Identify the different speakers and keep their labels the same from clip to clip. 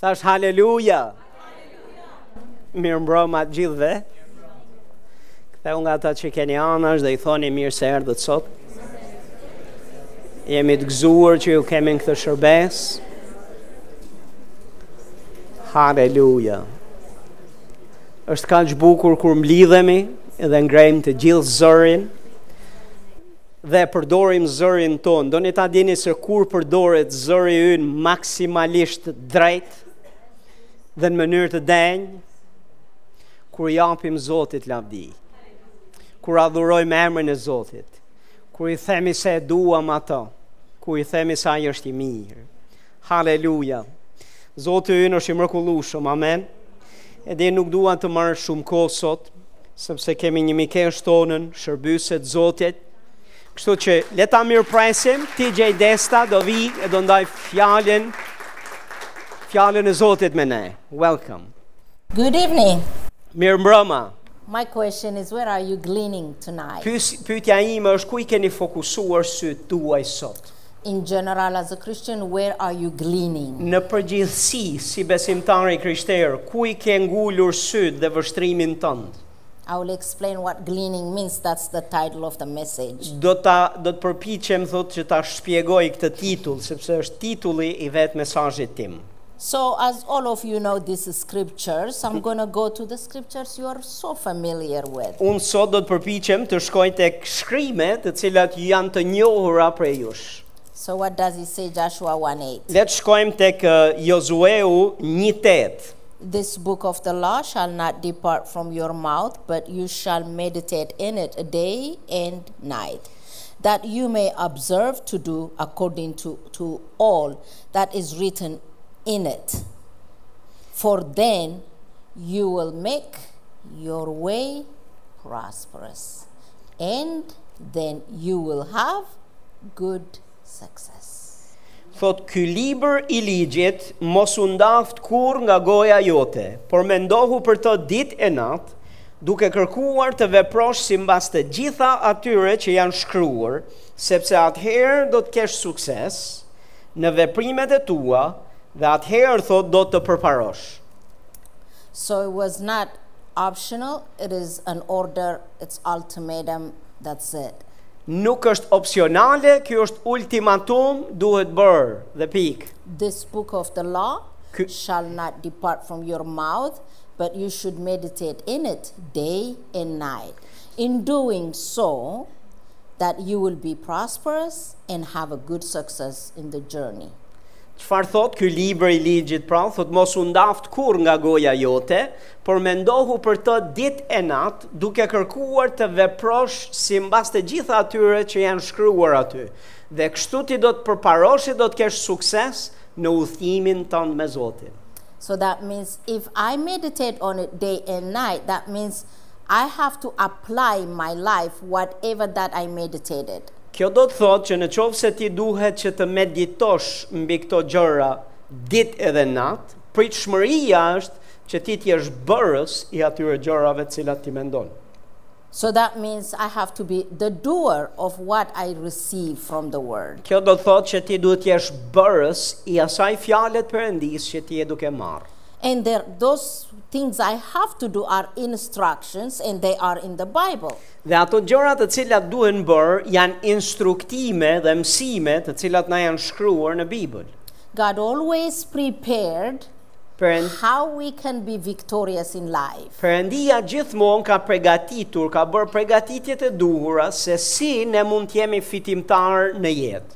Speaker 1: Thash haleluja. Mirë mbroma të gjithëve. Ktheu nga ata që keni anash dhe i thoni mirë se erdhët sot. Jemi të gëzuar që ju kemi në këtë shërbes. Haleluja. Është kaq bukur kur mblidhemi dhe ngrejmë të gjithë zërin dhe përdorim zërin ton. Doni ta dini se kur përdoret zëri ynë maksimalisht drejt dhe në mënyrë të denjë, kur japim Zotit lavdi, kur adhurojmë emrin e Zotit, kur i themi se e duam ato, kur i themi se ai është i mirë. Halleluja. Zoti ynë është i mrekullueshëm. Amen. Edhe nuk dua të marr shumë kohë sot, sepse kemi një mikesh tonën, shërbyset Zotit, Kështu që leta mirë presim, TJ Desta do vi e do ndaj fjallin, fjallin e Zotit me ne. Welcome.
Speaker 2: Good evening.
Speaker 1: Mirë mbrëma.
Speaker 2: My question is where are you gleaning tonight?
Speaker 1: Pyes- Pyetja ime është ku i keni fokusuar sytë tuaj sot?
Speaker 2: In general, as a Christian, where are you gleaning?
Speaker 1: Në përgjithësi, si besimtari krishterë, ku i ke ngulur sytë dhe vështrimin tënd?
Speaker 2: I will explain what gleaning means. That's the title of the message.
Speaker 1: Do ta do të përpiqem thotë që ta shpjegoj këtë titull, sepse është titulli i vetë mesazhit tim.
Speaker 2: So, as all of you know these scriptures, I'm going to go to the scriptures you are so familiar with.
Speaker 1: Unë sot do të përpiqem të shkoj tek shkrimet të cilat janë të njohura prej jush.
Speaker 2: So, what does it say, Joshua 1 8?
Speaker 1: Le të shkojmë tek uh, Jozueu 1:8.
Speaker 2: This book of the law shall not depart from your mouth, but you shall meditate in it day and night, that you may observe to do according to, to all that is written in it. For then you will make your way prosperous, and then you will have good success.
Speaker 1: Thot ky libër i ligjit mos u ndaft kur nga goja jote, por mendohu për të ditë e natë, duke kërkuar të veprosh simbas të gjitha atyre që janë shkruar, sepse atëherë do të kesh sukses në veprimet e tua dhe atëherë thot do të përparosh.
Speaker 2: So it was not optional, it is an order, it's ultimatum, that's it.
Speaker 1: Nuk është opsionale, kjo është ultimatum, duhet bërë dhe pikë.
Speaker 2: This book of the law
Speaker 1: Cou-
Speaker 2: shall not depart from your mouth, but you should meditate in it day and night. In doing so, that you will be prosperous and have a good success in the journey.
Speaker 1: Çfarë thot ky libër i ligjit pra? Thot mos u ndaft kur nga goja jote, por mendohu për të ditë e natë, duke kërkuar të veprosh simbas të gjitha atyre që janë shkruar aty. Dhe kështu ti do të përparosh e do të kesh sukses në udhimin tënd me Zotin.
Speaker 2: So that means if I meditate on it day and night, that means I have to apply in my life whatever that I meditated.
Speaker 1: Kjo do të thotë që në qovë se ti duhet që të meditosh mbi këto gjëra ditë edhe natë, pritshmëria është që ti të jesh bërës i atyre gjërave të cilat ti mendon.
Speaker 2: So that means I have to be the doer of what I receive from the word.
Speaker 1: Kjo do të thotë që ti duhet të jesh bërës i asaj fjalet perëndis që ti je duke marrë.
Speaker 2: And there, those things I have to do are instructions and they are in the Bible.
Speaker 1: Dhe ato gjëra të cilat duhen bërë janë instruktime dhe mësime të cilat na janë shkruar në Bibël.
Speaker 2: God always prepared
Speaker 1: Perënd
Speaker 2: how we can be victorious in life.
Speaker 1: Perëndia gjithmonë ka përgatitur, ka bërë përgatitjet e duhura se si ne mund të jemi fitimtar në jetë.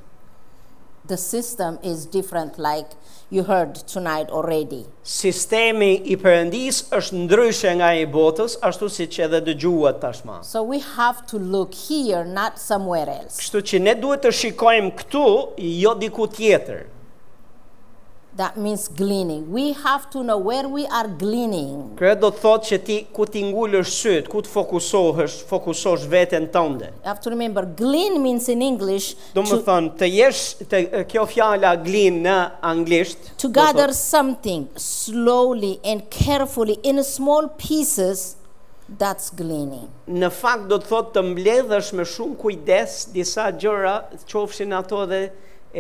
Speaker 2: The system is different, like you heard tonight already.
Speaker 1: Sistemi i Perëndis është ndryshe nga i botës, ashtu siç edhe dëgjuat tashmë.
Speaker 2: So we have to look here, not somewhere else.
Speaker 1: Kështu që ne duhet të shikojmë këtu, jo diku tjetër.
Speaker 2: That means gleaning. We have to know where we are gleaning.
Speaker 1: Kjo do të thotë që ti ku ti ngulësh syt, ku të fokusohesh, fokusosh veten tënde.
Speaker 2: You have to remember, glean means in English
Speaker 1: Do më
Speaker 2: to,
Speaker 1: thënë, të jesh, të, kjo fjala glin në anglisht, do
Speaker 2: to
Speaker 1: thotë,
Speaker 2: gather something slowly and carefully in small pieces. That's gleaning.
Speaker 1: në fakt do të thotë të mbledhësh me shumë kujdes disa gjëra, qofshin ato edhe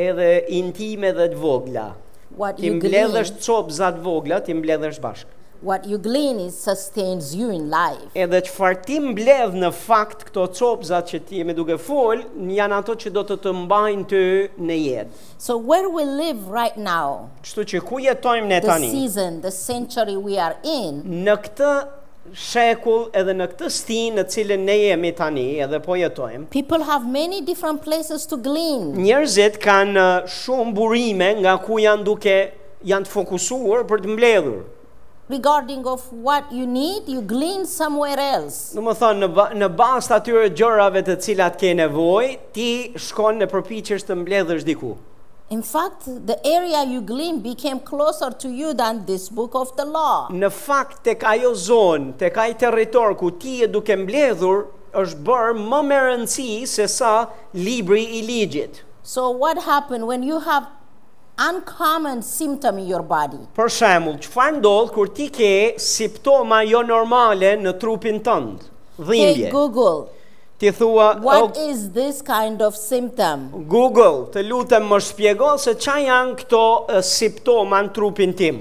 Speaker 1: edhe intime dhe të vogla.
Speaker 2: What
Speaker 1: Ti
Speaker 2: you glean,
Speaker 1: mbledhësh copë zat vogla, ti mbledhësh bashk.
Speaker 2: what you glean is sustains you in life.
Speaker 1: Edhe çfarë ti mbledh në fakt këto copë zat që ti jemi duke fol, janë ato që do të të mbajnë ty në jetë.
Speaker 2: So where we live right now,
Speaker 1: Kështu që ku jetojmë ne
Speaker 2: the
Speaker 1: tani?
Speaker 2: season, the century we are in,
Speaker 1: Në këtë shekull edhe në këtë stin në cilën ne jemi tani edhe po jetojmë,
Speaker 2: people have many different places to glean.
Speaker 1: njerëzit kanë uh, shumë burime nga ku janë duke janë të fokusuar për të mbledhur.
Speaker 2: Regarding of what you need, you glean somewhere else.
Speaker 1: Në më thonë, në, ba, në bas të atyre gjërave të cilat ke nevoj, ti shkon në përpiqesh të mbledhësh diku.
Speaker 2: In fact, the area you glean became closer to you than this book of the law.
Speaker 1: Në fakt, tek ajo zonë, tek ai territor ku ti je duke mbledhur, është bërë më me rëndësi se sa libri i ligjit.
Speaker 2: So what happened when you have uncommon symptom in your body?
Speaker 1: Për shembull, çfarë ndodh kur ti ke simptoma jo normale në trupin tënd?
Speaker 2: Hey
Speaker 1: Dhimbje.
Speaker 2: Google,
Speaker 1: Ti thua,
Speaker 2: what
Speaker 1: "O,
Speaker 2: is this kind of symptom?
Speaker 1: Google, të lutem më shpjego se qa janë këto e, simptoma në trupin tim.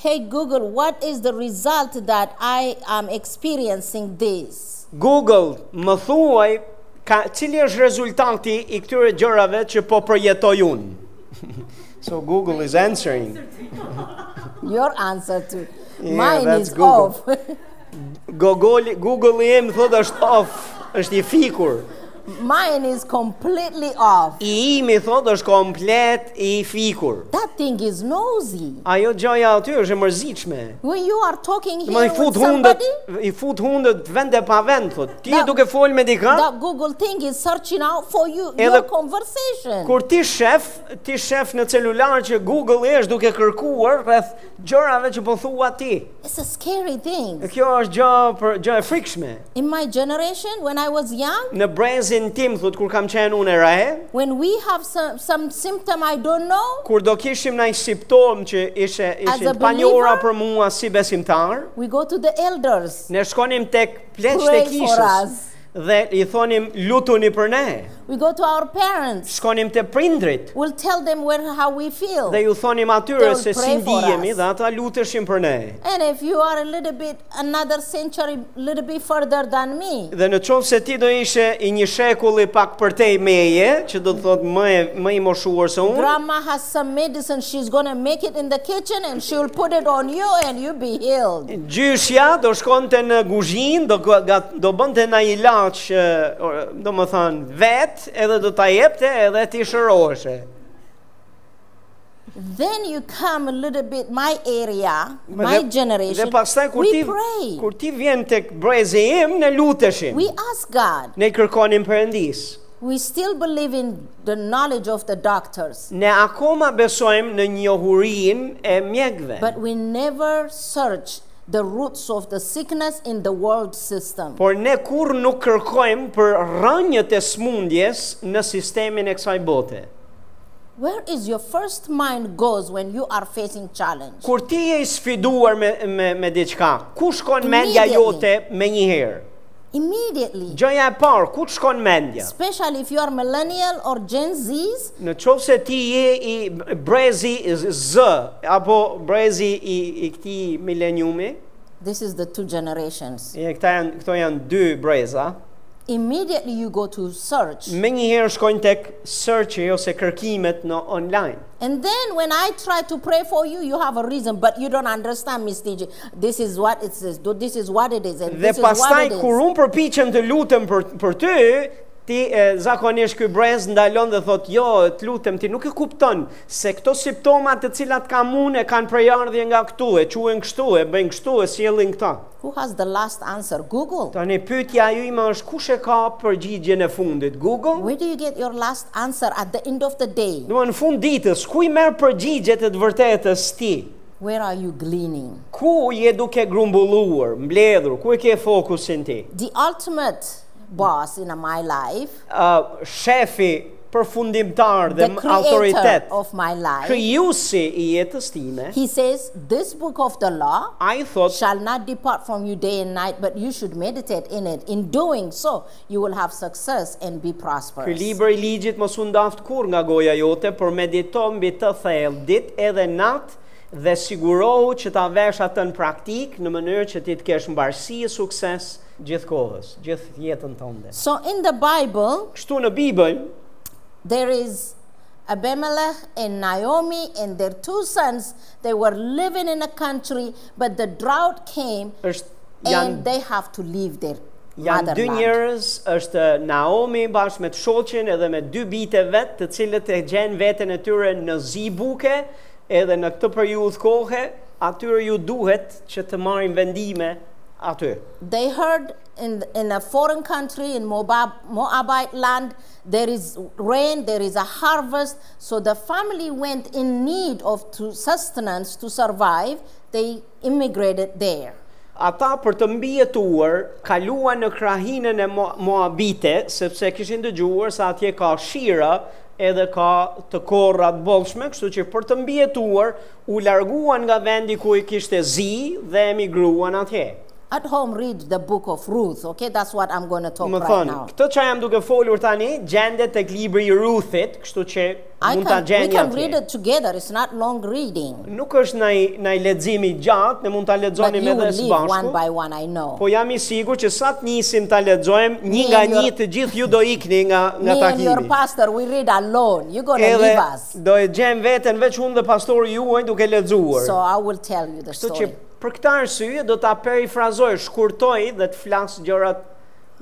Speaker 2: Hey Google, what is the result that I am experiencing this?
Speaker 1: Google, më thuaj, ka, cili është rezultati i këtyre gjërave që po përjetoj unë? so Google is answering.
Speaker 2: Your answer to
Speaker 1: Yeah,
Speaker 2: mine
Speaker 1: that's
Speaker 2: is
Speaker 1: Google.
Speaker 2: off.
Speaker 1: Google, Google i em thot është off, është i fikur.
Speaker 2: mine is completely off.
Speaker 1: I imi thot është komplet i fikur.
Speaker 2: That thing is nosy.
Speaker 1: Ajo gjoja aty është e mërzitshme.
Speaker 2: When you are talking
Speaker 1: Do më
Speaker 2: here
Speaker 1: i fut
Speaker 2: with
Speaker 1: hundët,
Speaker 2: somebody,
Speaker 1: i fut hundët vend e pa vend, thot. Ti
Speaker 2: Da-
Speaker 1: e duke fol me dikën,
Speaker 2: that Google thing is searching out for you your
Speaker 1: Edhe-
Speaker 2: conversation.
Speaker 1: Kur ti shef, ti shef në celular që Google e është duke kërkuar rreth gjërave që po thua ti.
Speaker 2: It's a scary thing.
Speaker 1: Kjo është gjë për gjë e frikshme.
Speaker 2: In my generation, when I was young,
Speaker 1: Në brezin tim thot kur kam qenë unë e re,
Speaker 2: when we have some, some symptom I don't know,
Speaker 1: kur do kishim ndaj simptom që ishe
Speaker 2: As a
Speaker 1: ishin panjora
Speaker 2: believer?
Speaker 1: për mua si besimtar,
Speaker 2: we go to the elders.
Speaker 1: ne shkonim tek pleç
Speaker 2: Pray
Speaker 1: të
Speaker 2: for
Speaker 1: kishës
Speaker 2: us.
Speaker 1: dhe i thonim lutuni për ne.
Speaker 2: We go to our parents.
Speaker 1: Shkonim te prindrit
Speaker 2: We'll tell them where, how we feel.
Speaker 1: dhe ju thonim atyre
Speaker 2: They'll
Speaker 1: se si
Speaker 2: pray for
Speaker 1: ndihemi
Speaker 2: us.
Speaker 1: dhe ata luteshin për ne.
Speaker 2: and if you are a little bit, another century, little bit further than me,
Speaker 1: Dhe në qovë se ti do ishe i një shekulli pak për te i meje, që do të thotë më, e, më i moshuar se unë,
Speaker 2: grandma has some medicine. She's going to make it in the kitchen and she'll put it on you and you'll be healed.
Speaker 1: gjyshja do shkonte në guzhin, do, gë- gat- do bënte në ilaq, e, o- do më thanë, vetë, edhe do t'a jepte edhe ti shëroshe.
Speaker 2: Then you come a little bit, my area,
Speaker 1: Më
Speaker 2: my
Speaker 1: dhe-
Speaker 2: generation,
Speaker 1: Dhe pastaj kur
Speaker 2: we
Speaker 1: ti,
Speaker 2: pray.
Speaker 1: kur ti vjen tek brezi im, ne luteshim.
Speaker 2: We ask God.
Speaker 1: Ne kërkonim përëndis.
Speaker 2: We still believe in the knowledge of the doctors,
Speaker 1: Ne akoma besojmë në njohurin e mjekve.
Speaker 2: but we never search the roots of the sickness in the world system.
Speaker 1: Por ne kur nuk kërkojmë për rënjët e smundjes në sistemin e kësaj bote.
Speaker 2: Where is your first mind goes when you are facing challenge?
Speaker 1: Kur ti je i sfiduar me, me, me diçka, ku shkon mendja jote
Speaker 2: Immediately.
Speaker 1: me një herë?
Speaker 2: Immediately,
Speaker 1: Gjëja e parë, ku të shkon mendja?
Speaker 2: especially if you are millennial or Gen Zs,
Speaker 1: Në qovë se ti je i brezi Z, apo brezi i, i këti mileniumi,
Speaker 2: this is the two generations.
Speaker 1: e këta janë, këto janë dy breza,
Speaker 2: Immediately you go to search.
Speaker 1: me një herë shkojnë tek search ose kërkimet në online.
Speaker 2: And then when I try to pray for you, you have a reason, but you don't understand, Miss DJ. This is what it says. do- This is what it is. And
Speaker 1: Dhe
Speaker 2: this is what
Speaker 1: pastaj
Speaker 2: it is.
Speaker 1: kur unë përpiqem të lutem për për ty, ti e, zakonisht ky brez ndalon dhe thot, "Jo, të lutem ti nuk e kupton se këto simptoma të cilat kam unë e kanë prejardhje nga këtu, e quhen kështu, e bëjnë kështu, e sjellin këta."
Speaker 2: Who has the last answer? Google.
Speaker 1: Tani pyetja ime është kush e ka përgjigjen e fundit? Google?
Speaker 2: Where do you get your last answer at the end of the day?
Speaker 1: Do në fund ditës, ku i merr përgjigjet e të vërtetës ti?
Speaker 2: Where are you gleaning?
Speaker 1: Ku je duke grumbulluar, mbledhur, ku e ke fokusin ti?
Speaker 2: The ultimate boss in my life
Speaker 1: Uh, shefi përfundimtar dhe
Speaker 2: the
Speaker 1: m-
Speaker 2: creator
Speaker 1: autoritet,
Speaker 2: of my life.
Speaker 1: krijuesi i jetës time,
Speaker 2: He says, This book of the law
Speaker 1: ai thotë
Speaker 2: shall not depart from you day and night, but you should meditate in it. In doing so, you will have success and be
Speaker 1: Ky
Speaker 2: prosperous.
Speaker 1: libër i ligjit mos u ndaft kur nga goja jote, por medito mbi të thellë ditë edhe natë dhe sigurohu që ta vesh atë në praktik në mënyrë që ti të kesh mbarësi e sukses gjithkohës, gjithë jetën tënde.
Speaker 2: So in the Bible,
Speaker 1: Kështu në Bibël
Speaker 2: there is Abimelech and Naomi and their two sons. They were living in a country, but the drought came
Speaker 1: është
Speaker 2: and
Speaker 1: janë
Speaker 2: they have to leave their
Speaker 1: Janë dy
Speaker 2: motherland.
Speaker 1: njerëz, është Naomi bashkë me të shoqen edhe me dy bitë vet, të cilët e gjenë veten e tyre në zi buke, edhe në këtë periudhë kohe, atyre ju duhet që të marrin vendime aty.
Speaker 2: They heard in, in a foreign country, in Moab, Moabite land, there is rain, there is a harvest. So the family went in need of to sustenance to survive. They immigrated there.
Speaker 1: Ata për të mbijetuar kaluan në krahinën e Mo- Moabite, sepse kishin dëgjuar se atje ka shira edhe ka të korra të bollshme, kështu që për të mbijetuar u larguan nga vendi ku i kishte zi dhe emigruan atje.
Speaker 2: At home, read the book of Ruth, okay? That's what I'm going to talk
Speaker 1: Më
Speaker 2: right
Speaker 1: thënë,
Speaker 2: now.
Speaker 1: këtë që jam duke folur tani, gjendet tek libri i Ruthit, kështu që
Speaker 2: I
Speaker 1: mund ta
Speaker 2: can, we
Speaker 1: gjeni
Speaker 2: can read
Speaker 1: atje.
Speaker 2: it together. It's not long reading,
Speaker 1: Nuk është ndaj ndaj leximi i gjatë, ne mund ta
Speaker 2: but
Speaker 1: lexonim
Speaker 2: you
Speaker 1: edhe
Speaker 2: will
Speaker 1: së
Speaker 2: leave one
Speaker 1: bashku.
Speaker 2: by one, I know.
Speaker 1: Po jam i sigurt që sa të nisim ta lexojmë, një nga
Speaker 2: and your-
Speaker 1: një të gjithë ju do ikni nga nga
Speaker 2: Me and your
Speaker 1: takimi.
Speaker 2: pastor, we read alone. You're going to
Speaker 1: Edhe
Speaker 2: leave us.
Speaker 1: do e gjem veten veç unë dhe pastori juaj duke lexuar.
Speaker 2: So I will tell you the
Speaker 1: Kështu që
Speaker 2: story.
Speaker 1: për këtë arsye do ta perifrazoj, shkurtoj dhe të flas gjërat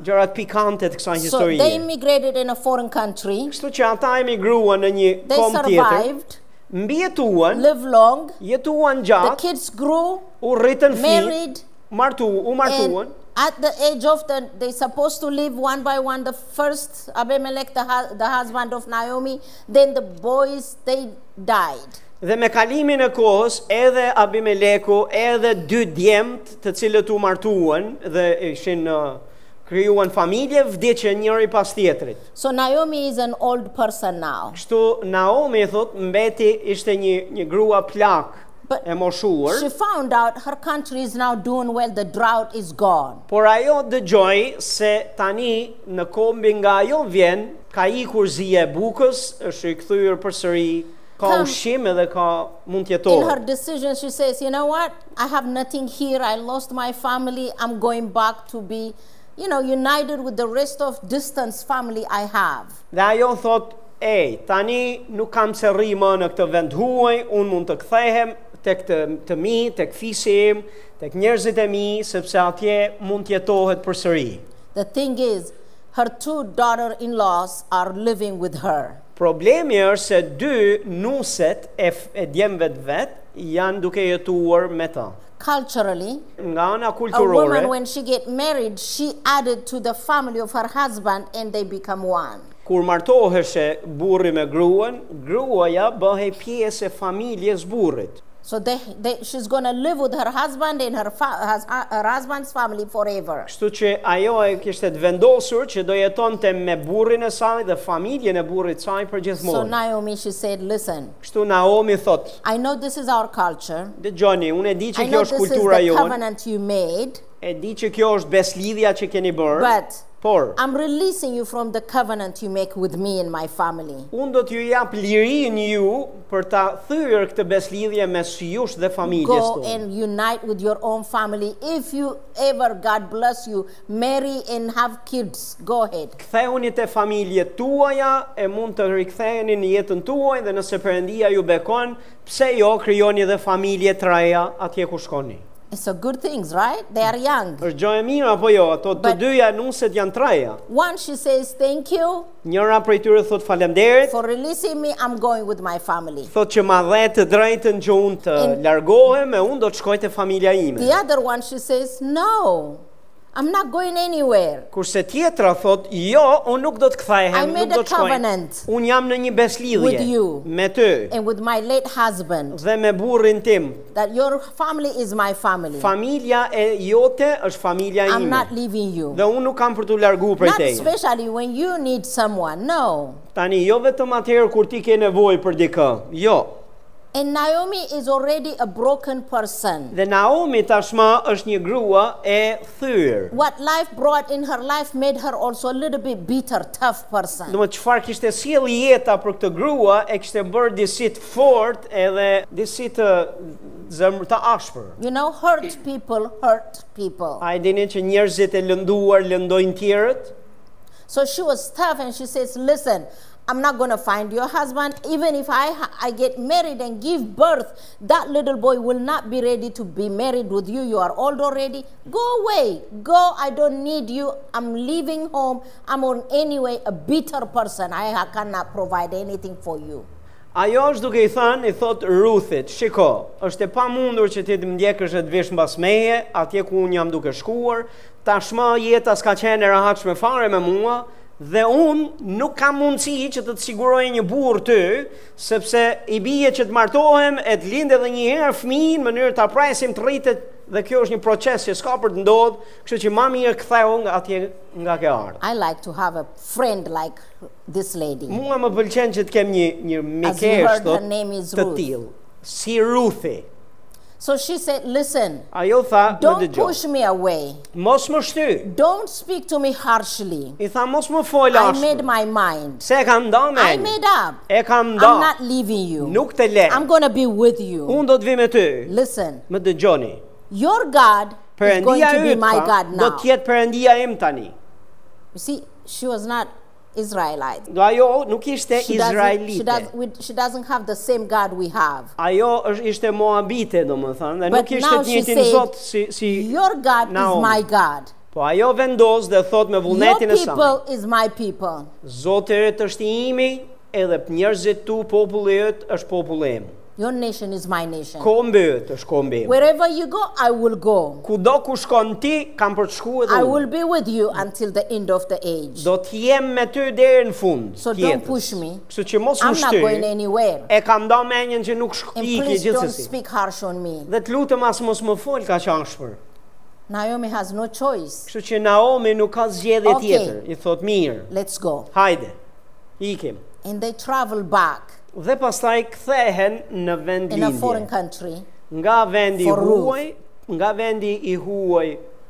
Speaker 1: gjërat pikante të kësaj
Speaker 2: So they
Speaker 1: historie.
Speaker 2: immigrated in a foreign country.
Speaker 1: Kështu që ata emigruan në një
Speaker 2: They
Speaker 1: kom tjetër.
Speaker 2: survived,
Speaker 1: mbjetuan,
Speaker 2: lived long.
Speaker 1: jetuan
Speaker 2: The
Speaker 1: gjatë,
Speaker 2: kids grew,
Speaker 1: u rritën fëmijë,
Speaker 2: married,
Speaker 1: martu, u martuan.
Speaker 2: and at the age of the, they supposed to leave one by one. The first Abimelech, the, hu- the husband of Naomi. Then the boys, they died.
Speaker 1: Dhe me kalimin e kohës, edhe Abimeleku, edhe dy djemtë të cilët u martuan dhe ishin uh, krijuan familje, vdiqën njëri pas tjetrit.
Speaker 2: So Naomi is an old person now.
Speaker 1: Kështu Naomi thot mbeti ishte një një grua plak
Speaker 2: But
Speaker 1: e moshuar,
Speaker 2: She found out her country is now doing well. The drought is gone.
Speaker 1: por ajo dëgjoi se tani në kombi nga ajo vjen ka ikur zia e bukës, është rikthyer përsëri ka
Speaker 2: Kam-
Speaker 1: ushqim edhe ka mund të
Speaker 2: In
Speaker 1: jetojë.
Speaker 2: her decision, she says, You know what? I have nothing here. I lost my family. I'm going back to be, you know, united with the rest of distance family I have.
Speaker 1: Dhe ajo thot, ej, tani nuk kam se rri më në këtë vend huaj, unë mund të kthehem tek të, të mi, tek fisi im, tek njerëzit e mi, sepse atje mund të jetohet përsëri.
Speaker 2: The thing is, her two daughter in laws are living with her.
Speaker 1: Problemi është se dy nuset e, f- e djemve të vet janë duke jetuar me ta.
Speaker 2: Culturally,
Speaker 1: Nga ana
Speaker 2: a
Speaker 1: kulturore,
Speaker 2: woman, when she get married, she added to the family of her husband and they become one.
Speaker 1: kur martoheshe burri me gruan, gruaja bëhej pjesë e familjes burrit.
Speaker 2: So they, they, she's going to live with her husband and her, fa- hus- her husband's family forever.
Speaker 1: Kështu që ajo e kishte të vendosur që do jetonte me burrin e saj dhe familjen e burrit saj për
Speaker 2: So
Speaker 1: gjithmonë.
Speaker 2: Naomi, she said, Listen,
Speaker 1: Kështu Naomi thot,
Speaker 2: I know this is our culture.
Speaker 1: dëgjoni, unë e di
Speaker 2: I
Speaker 1: që kjo
Speaker 2: know this
Speaker 1: është
Speaker 2: is
Speaker 1: kultura
Speaker 2: the
Speaker 1: jonë,
Speaker 2: covenant you made,
Speaker 1: e di që kjo është beslidhja që keni bërë,
Speaker 2: but
Speaker 1: por
Speaker 2: I'm releasing you from the covenant you make with me and my family.
Speaker 1: unë do t'ju jap lirin ju për ta thyrë këtë beslidhje mes jush dhe familjes
Speaker 2: Go
Speaker 1: tonë.
Speaker 2: and unite with your own family. If you ever, God bless you, marry and have kids, go ahead.
Speaker 1: Kthehuni te familje tuaja e mund të riktheheni në jetën tuaj dhe nëse Perëndia ju bekon, pse jo krijoni dhe familje të reja atje ku shkoni.
Speaker 2: It's a good things, right? They are young.
Speaker 1: është gjë e mirë apo jo? Ato të
Speaker 2: But-
Speaker 1: dyja nuset janë treja.
Speaker 2: One, she says, Thank you
Speaker 1: Njëra prej tyre thot faleminderit,
Speaker 2: for releasing me. I'm going with my family.
Speaker 1: thot që ma dhe të drejtën që unë të
Speaker 2: And-
Speaker 1: largohem e unë do të shkoj te familja ime.
Speaker 2: The other one, she says, No, I'm not going anywhere.
Speaker 1: Kurse tjetra thot, jo, unë nuk do të
Speaker 2: I
Speaker 1: kthehem,
Speaker 2: made
Speaker 1: nuk do
Speaker 2: a
Speaker 1: të shkoj.
Speaker 2: covenant
Speaker 1: Unë jam në një beslidhje
Speaker 2: With you.
Speaker 1: me ty
Speaker 2: and with my late husband
Speaker 1: dhe me burrin tim.
Speaker 2: that your family is my family.
Speaker 1: Familja e jote është familja
Speaker 2: I'm
Speaker 1: ime.
Speaker 2: not leaving you.
Speaker 1: Dhe unë nuk kam për t'u largu prej
Speaker 2: Not
Speaker 1: teje.
Speaker 2: especially when you need someone. No.
Speaker 1: Tani jo vetëm atëherë kur ti ke nevojë për dikë. Jo.
Speaker 2: And Naomi is already a broken person.
Speaker 1: Dhe Naomi tashmë është një grua e thyrë.
Speaker 2: What life brought in her life made her also a little bit bitter, tough person.
Speaker 1: Do të çfarë kishte sjell jeta për këtë grua e kishte bërë disi të fortë edhe disi të zemër të ashpër.
Speaker 2: You know, hurt people hurt people.
Speaker 1: A e dini që njerëzit e lënduar lëndojnë tjerët?
Speaker 2: So she was tough and she says, Listen, I'm not going to find your husband. Even if I, I get married and give birth, that little boy will not be ready to be married with you. You are old already. Go away. Go. I don't need you. I'm leaving home. I'm on anyway a bitter person. I, I cannot provide anything for you.
Speaker 1: Ajo është duke i thënë, i thot Ruthit, shiko, është e pamundur që ti të mdjekësh e të vish mbas meje, atje ku unë jam duke shkuar, tashmë jeta s'ka qenë e rehatshme fare me mua, dhe unë nuk kam mundësi që të të siguroj një burr ty, sepse i bie që të martohem e të lindë edhe një herë fëmijë në mënyrë ta presim të rritet dhe kjo është një proces që s'ka për të ndodhur, kështu që më mirë ktheu nga atje nga ke ardhur.
Speaker 2: I like to have a friend like this lady.
Speaker 1: Mua më pëlqen që të kem një një
Speaker 2: As you
Speaker 1: mikesh
Speaker 2: heard,
Speaker 1: thot
Speaker 2: her name is
Speaker 1: të
Speaker 2: Ruth.
Speaker 1: tillë, si Ruthi.
Speaker 2: So she said, Listen,
Speaker 1: Ajo tha, më
Speaker 2: don't
Speaker 1: dëgjoj.
Speaker 2: push me away.
Speaker 1: Mos më shty.
Speaker 2: Don't speak to me harshly.
Speaker 1: I tha mos më fol
Speaker 2: I
Speaker 1: ashtu.
Speaker 2: made my mind.
Speaker 1: Se e kam nda me.
Speaker 2: I made up.
Speaker 1: E kam nda.
Speaker 2: I'm not leaving you.
Speaker 1: Nuk të le.
Speaker 2: I'm going to be with you.
Speaker 1: Unë do të vi me ty.
Speaker 2: Listen,
Speaker 1: Më dëgjoni.
Speaker 2: your God is going
Speaker 1: Perëndia
Speaker 2: to be
Speaker 1: yt
Speaker 2: my
Speaker 1: tha,
Speaker 2: God
Speaker 1: do
Speaker 2: now.
Speaker 1: të
Speaker 2: You
Speaker 1: jetë perëndia im tani.
Speaker 2: see, she was not Israelite.
Speaker 1: Do ajo nuk ishte
Speaker 2: She doesn't, she, does,
Speaker 1: izraelite.
Speaker 2: we, she doesn't have the same God we have.
Speaker 1: Ajo është ishte moabite, domethënë, dhe
Speaker 2: But
Speaker 1: nuk ishte
Speaker 2: now
Speaker 1: të
Speaker 2: she
Speaker 1: njëjtin
Speaker 2: said,
Speaker 1: Zot si si
Speaker 2: Your God
Speaker 1: Naomi.
Speaker 2: is my God.
Speaker 1: Po ajo vendos dhe thot me
Speaker 2: Your
Speaker 1: vullnetin e saj.
Speaker 2: people is my people.
Speaker 1: Zoti yt është i imi, edhe njerëzit tu populli yt është populli im.
Speaker 2: Your nation is my nation.
Speaker 1: Kombi yt është kombi im.
Speaker 2: Wherever you go, I will go.
Speaker 1: Kudo ku shkon ti, kam për të shkuar edhe
Speaker 2: I
Speaker 1: unë.
Speaker 2: will be with you until the end of the age.
Speaker 1: Do të jem me ty deri në fund.
Speaker 2: So
Speaker 1: të
Speaker 2: don't
Speaker 1: jetës.
Speaker 2: push me.
Speaker 1: Kështu që mos u
Speaker 2: I'm not
Speaker 1: shty.
Speaker 2: going anywhere.
Speaker 1: E kam nda menjen që nuk
Speaker 2: And
Speaker 1: shkiki
Speaker 2: please don't
Speaker 1: gjithsesi.
Speaker 2: speak harsh on me.
Speaker 1: Dhe të lutem as mos më fol ka qanshpër.
Speaker 2: Naomi has no choice.
Speaker 1: Kështu që Naomi nuk ka zgjedhje
Speaker 2: Okay.
Speaker 1: tjetër. I thot mirë.
Speaker 2: Let's go.
Speaker 1: Hajde. Ikim.
Speaker 2: And they travel back
Speaker 1: Dhe pastaj kthehen në vend
Speaker 2: in a foreign
Speaker 1: lindje.
Speaker 2: country.
Speaker 1: Nga vendi i
Speaker 2: For Ruth.
Speaker 1: huaj, nga vendi i huaj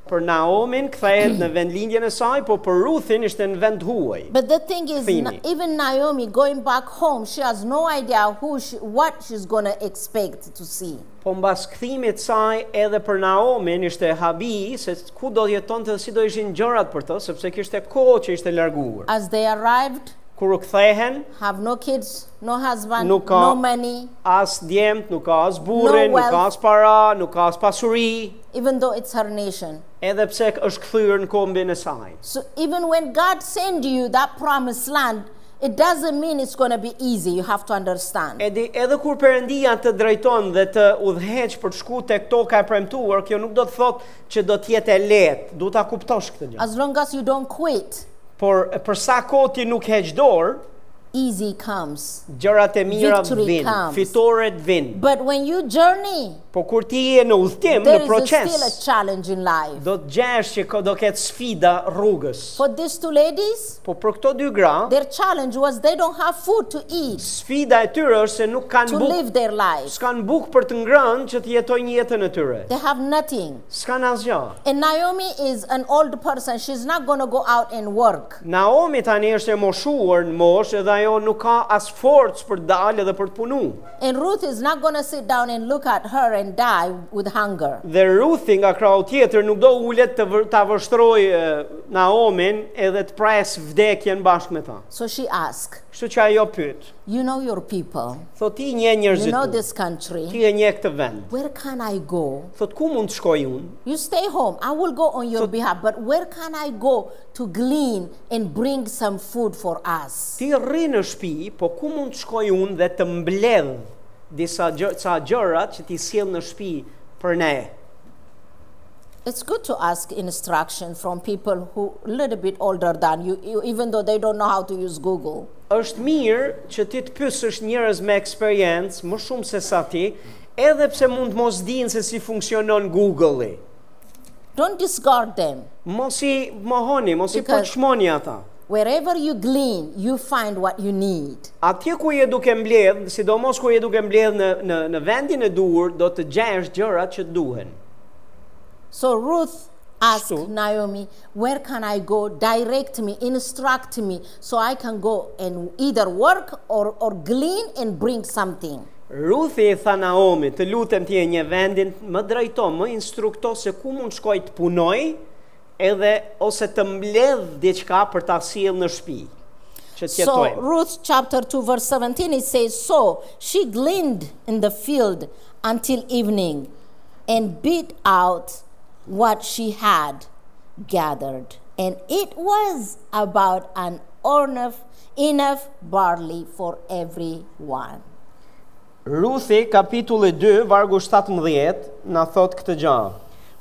Speaker 1: për Naomin kthehet në vend lindjen e saj, po për Ruthin ishte në vend huaj.
Speaker 2: But the thing is,
Speaker 1: Fini.
Speaker 2: Na- even Naomi going back home, she has no idea who she, what she's gonna expect to see.
Speaker 1: Po mbas kthimit saj edhe për Naomin ishte habi se ku do jetonte dhe si do ishin gjërat për të, sepse kishte kohë që ishte larguar.
Speaker 2: As they arrived,
Speaker 1: Kur u kthehen,
Speaker 2: have no kids, no husband,
Speaker 1: Nuk ka-
Speaker 2: no money,
Speaker 1: as djemt, nuk ka as burrin,
Speaker 2: No
Speaker 1: nuk ka
Speaker 2: wealth.
Speaker 1: as para, nuk ka as pasuri,
Speaker 2: even though it's her nation.
Speaker 1: edhe pse është kthyer në kombin e saj.
Speaker 2: So even when God send you that promised land, it doesn't mean it's gonna be easy. You have to understand.
Speaker 1: Edi, edhe kur Perëndia të drejton dhe të udhëheq për të shku tek toka e premtuar, kjo nuk do të thotë që do të jetë e lehtë, duhet ta kuptosh këtë gjë.
Speaker 2: As long as you don't quit,
Speaker 1: Por për sa kohë ti nuk heq dorë,
Speaker 2: easy comes.
Speaker 1: gjërat e mira
Speaker 2: Victory
Speaker 1: vijnë,
Speaker 2: comes.
Speaker 1: fitoret vijnë.
Speaker 2: But when you journey,
Speaker 1: Po kur ti je në udhtim,
Speaker 2: there
Speaker 1: në
Speaker 2: is a- still a
Speaker 1: proces,
Speaker 2: challenge in life.
Speaker 1: do të gjesh që ko- do ketë sfida rrugës.
Speaker 2: For these two ladies,
Speaker 1: Po për këto dy gra,
Speaker 2: their challenge was they don't have food to eat
Speaker 1: sfida e tyre është se nuk
Speaker 2: to
Speaker 1: kanë bukë,
Speaker 2: live their life.
Speaker 1: s'kan bukë për të ngrënë që të jetojnë jetën e tyre.
Speaker 2: They have nothing.
Speaker 1: S'kan asgjë.
Speaker 2: And Naomi is an old person. She's not going to go out and work.
Speaker 1: Naomi tani është e moshuar në moshë edhe ajo nuk ka as forcë për dalë edhe për të punu.
Speaker 2: And Ruth is not going to sit down and look at her and die with hunger.
Speaker 1: Dhe Ruthi nga krau tjetër nuk do ulet të vë- ta vështroj e, Naomin edhe të pres vdekjen bashkë me ta.
Speaker 2: So she asked,
Speaker 1: Kështu që ajo pyet.
Speaker 2: You know your people,
Speaker 1: Thot ti një
Speaker 2: you
Speaker 1: njerëzit
Speaker 2: know
Speaker 1: tu.
Speaker 2: this country.
Speaker 1: Ti e një këtë vend.
Speaker 2: Where can I go?
Speaker 1: Thot ku mund të shkoj unë?
Speaker 2: You stay home. I will go on your behalf. But where can I go to glean and bring some food for us?
Speaker 1: Ti rri në shtëpi, po ku mund të shkoj unë dhe të mbledh disa gjë, ca gjërat që ti sjell në shtëpi për ne?
Speaker 2: It's good to ask instruction from people who a little bit older than you, e- even though they don't know how to use Google.
Speaker 1: është mirë që ti të pyesësh njerëz me eksperiencë më shumë se sa ti, edhe pse mund të mos dinë se si funksionon Google-i.
Speaker 2: Don't discard them.
Speaker 1: Mos i mohoni, mos i
Speaker 2: Because-
Speaker 1: përçmoni ata.
Speaker 2: Wherever you glean, you find what you need.
Speaker 1: Atje ku je duke mbledh, sidomos ku je duke mbledh në në në vendin e duhur, do të gjesh gjërat që duhen.
Speaker 2: So Ruth asked
Speaker 1: Shtu.
Speaker 2: Naomi, Where can I go? Direct me, instruct me, so I can go and either work or, or glean and bring something.
Speaker 1: Ruthi i tha Naomi, të lutem ti e një vendin, më drejto, më instrukto se ku mund shkoj të punoj, edhe ose të mbledh diçka për ta sjell në shtëpi. Që të
Speaker 2: So
Speaker 1: jetojmë.
Speaker 2: Ruth chapter 2 verse 17 it says so she gleaned in the field until evening and beat out what she had gathered and it was about an enough enough barley for everyone
Speaker 1: Ruthi kapitulli 2 vargu 17 na thot këtë gjë.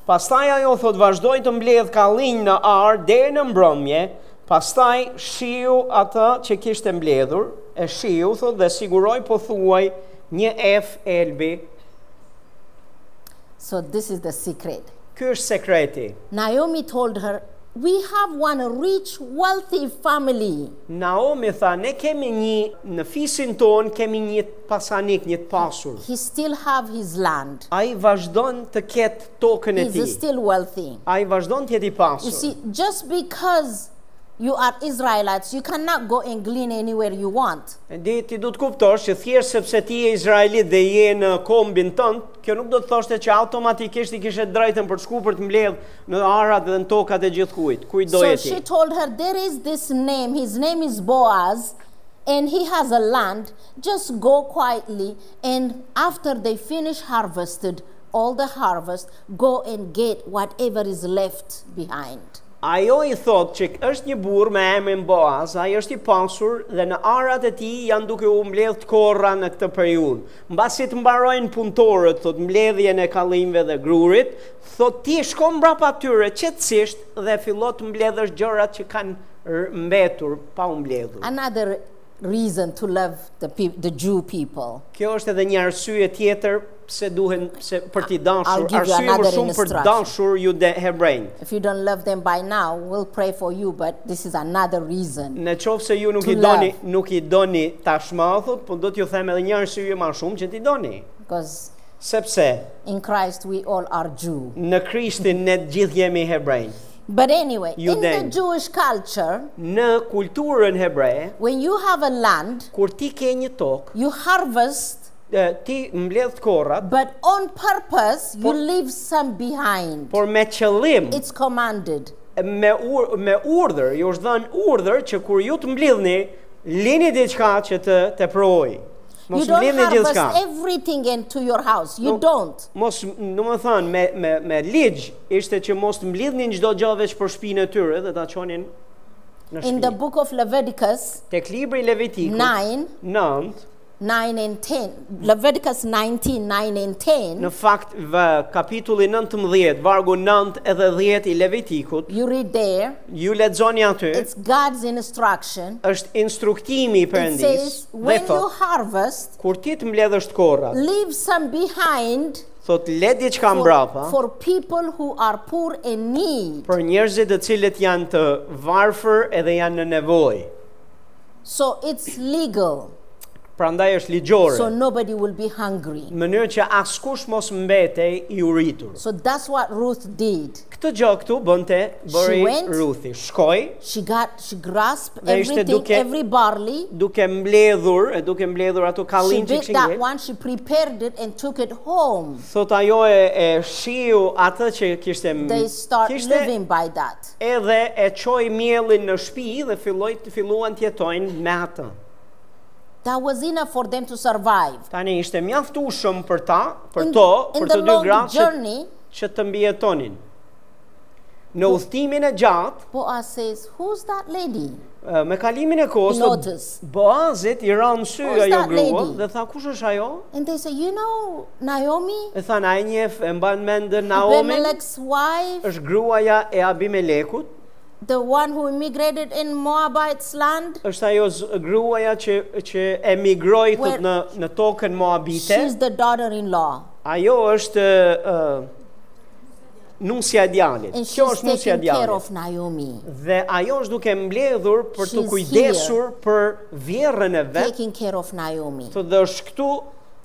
Speaker 1: Pastaj ajo thot vazhdoi të mbledh kallinj në ar deri në mbrëmje, pastaj shiu atë që kishte mbledhur, e shiu thot dhe siguroi pothuaj një ef elbi.
Speaker 2: so this is the secret
Speaker 1: Ky është sekreti.
Speaker 2: Naomi told her we have one rich wealthy family
Speaker 1: Naomi tha, ne kemi një, në fisin ton kemi një pasanik, një të pasur.
Speaker 2: he still have his land
Speaker 1: A i vazhdon të ketë tokën e ti.
Speaker 2: he's still wealthy
Speaker 1: A i vazhdon të jeti pasur.
Speaker 2: You see, just because you are Israelites, you cannot go and glean anywhere you want.
Speaker 1: E di, ti du të kuptosh që thjesht sepse ti je Izraelit dhe je në kombin tënd, kjo nuk do të thoshte që automatikisht i kishe drejtën për të shku për të mbledh në arat dhe në tokat e gjithë kujt. Kuj do
Speaker 2: so
Speaker 1: jeti?
Speaker 2: she told her, There is this name, his name is Boaz, and he has a land. Just go quietly, and after they finish harvested all the harvest, go and get whatever is left behind.
Speaker 1: Ajo i thot që është një burr me emrin Boaz, ai është i pasur dhe në arat e tij janë duke u mbledh të korra në këtë periudhë. Mbasi të mbarojnë punëtorët, thot mbledhjen e kallimve dhe grurit, thot ti shko mbrapa tyre qetësisht dhe fillo të mbledhësh gjërat që kanë r- mbetur pa u mbledhur.
Speaker 2: Another reason to love the, peop the Jew people.
Speaker 1: Kjo është edhe një arsye tjetër pse duhen pse për t'i
Speaker 2: I'll
Speaker 1: dashur,
Speaker 2: give you
Speaker 1: arsye më
Speaker 2: another
Speaker 1: shumë për të
Speaker 2: instruction.
Speaker 1: dashur ju de hebrejnë.
Speaker 2: If you don't love them by now, we'll pray for you, but this is another reason.
Speaker 1: Në qofë se ju nuk
Speaker 2: To
Speaker 1: i doni,
Speaker 2: love.
Speaker 1: nuk i doni tashmë, thot, po do t'ju them edhe një arsye më shumë që t'i doni.
Speaker 2: Because
Speaker 1: Sepse
Speaker 2: in Christ we all are Jew.
Speaker 1: në Krishtin ne të gjithë jemi hebrejnë.
Speaker 2: But anyway,
Speaker 1: You
Speaker 2: in
Speaker 1: then.
Speaker 2: the Jewish culture,
Speaker 1: Në kulturën hebreje,
Speaker 2: when you have a land,
Speaker 1: kur ti ke një tokë,
Speaker 2: you harvest,
Speaker 1: e, ti mbledh korrat,
Speaker 2: but on purpose you
Speaker 1: Por-
Speaker 2: leave some behind.
Speaker 1: por me qëllim,
Speaker 2: It's commanded.
Speaker 1: me, ur, me urdhër, ju është dhënë urdhër që kur ju të mbledhni, lini diçka që të të proj.
Speaker 2: you
Speaker 1: Mos
Speaker 2: don't
Speaker 1: mbledhni
Speaker 2: harvest
Speaker 1: gjithçka.
Speaker 2: everything into your house. You
Speaker 1: No.
Speaker 2: don't.
Speaker 1: Mos, në më thënë, me, me, me ligj, ishte që mos të mblidhnin gjdo gjë veç për shpinë e tyre dhe ta qonin në
Speaker 2: In the
Speaker 1: shpi.
Speaker 2: book of Leviticus
Speaker 1: Tek libri Levitikut,
Speaker 2: 9,
Speaker 1: 9,
Speaker 2: 9 and 10, Leviticus 19, 9 and 10,
Speaker 1: në fakt vë kapitulli 19, vargu 9 edhe 10 i Levitikut,
Speaker 2: you read there,
Speaker 1: ju lexoni aty,
Speaker 2: it's God's instruction.
Speaker 1: është instruktimi i
Speaker 2: It
Speaker 1: Perëndis,
Speaker 2: says,
Speaker 1: dhe
Speaker 2: when you
Speaker 1: thot,
Speaker 2: harvest,
Speaker 1: kur ti të mbledhësh korrat,
Speaker 2: leave some behind
Speaker 1: thot le diçka mbrapa,
Speaker 2: for, for people who are poor and need.
Speaker 1: për njerëzit të cilët janë të varfër edhe janë në nevojë.
Speaker 2: So it's legal.
Speaker 1: Prandaj është ligjore.
Speaker 2: So nobody will be hungry.
Speaker 1: në mënyrë që askush mos mbetej i uritur.
Speaker 2: So that's what Ruth did.
Speaker 1: Këtë gjë këtu bënte bëri
Speaker 2: She went-
Speaker 1: Ruthi. Shkoi
Speaker 2: She got she grasped
Speaker 1: Dhe ishte
Speaker 2: everything,
Speaker 1: duke-
Speaker 2: every barley.
Speaker 1: duke mbledhur, e duke mbledhur ato
Speaker 2: She
Speaker 1: kallin që
Speaker 2: did
Speaker 1: kishin
Speaker 2: that
Speaker 1: ngritur.
Speaker 2: one, she prepared it and took it home.
Speaker 1: Thot ajo e, e shiu atë që kishte m-
Speaker 2: They start
Speaker 1: kishte
Speaker 2: living by that.
Speaker 1: edhe e çoi miellin në shtëpi dhe filloi të filluan të jetojnë me atë.
Speaker 2: That was enough for them to survive.
Speaker 1: Tani ishte mjaftueshëm për ta, për
Speaker 2: In-
Speaker 1: to,
Speaker 2: in
Speaker 1: për
Speaker 2: the
Speaker 1: të dy
Speaker 2: long
Speaker 1: gratë që,
Speaker 2: journey,
Speaker 1: që të mbijetonin. në udhëtimin e gjatë,
Speaker 2: Boaz says, Who's that lady?
Speaker 1: ë, me kalimin e kohës, të
Speaker 2: Lotës.
Speaker 1: Boazit i ran sy
Speaker 2: Who's
Speaker 1: ajo
Speaker 2: that
Speaker 1: grua
Speaker 2: lady?
Speaker 1: dhe tha kush është ajo?
Speaker 2: And they say, You know, Naomi,
Speaker 1: E than ai njef e mban mendën Naomi,
Speaker 2: Abimelech's wife,
Speaker 1: është gruaja e Abimelekut,
Speaker 2: the one who immigrated in Moabite's land.
Speaker 1: është ajo z- gruaja që që emigroi
Speaker 2: Where-
Speaker 1: thot në në tokën Moabite.
Speaker 2: She's the daughter in law.
Speaker 1: Ajo është uh, nusja e djalit.
Speaker 2: And
Speaker 1: Kjo
Speaker 2: she's
Speaker 1: është nusja
Speaker 2: taking
Speaker 1: e
Speaker 2: care
Speaker 1: djalit.
Speaker 2: of Naomi,
Speaker 1: Dhe ajo është duke mbledhur për të
Speaker 2: She's
Speaker 1: kujdesur për vjerrën e vet,
Speaker 2: taking care of Naomi.
Speaker 1: thotë dhe është këtu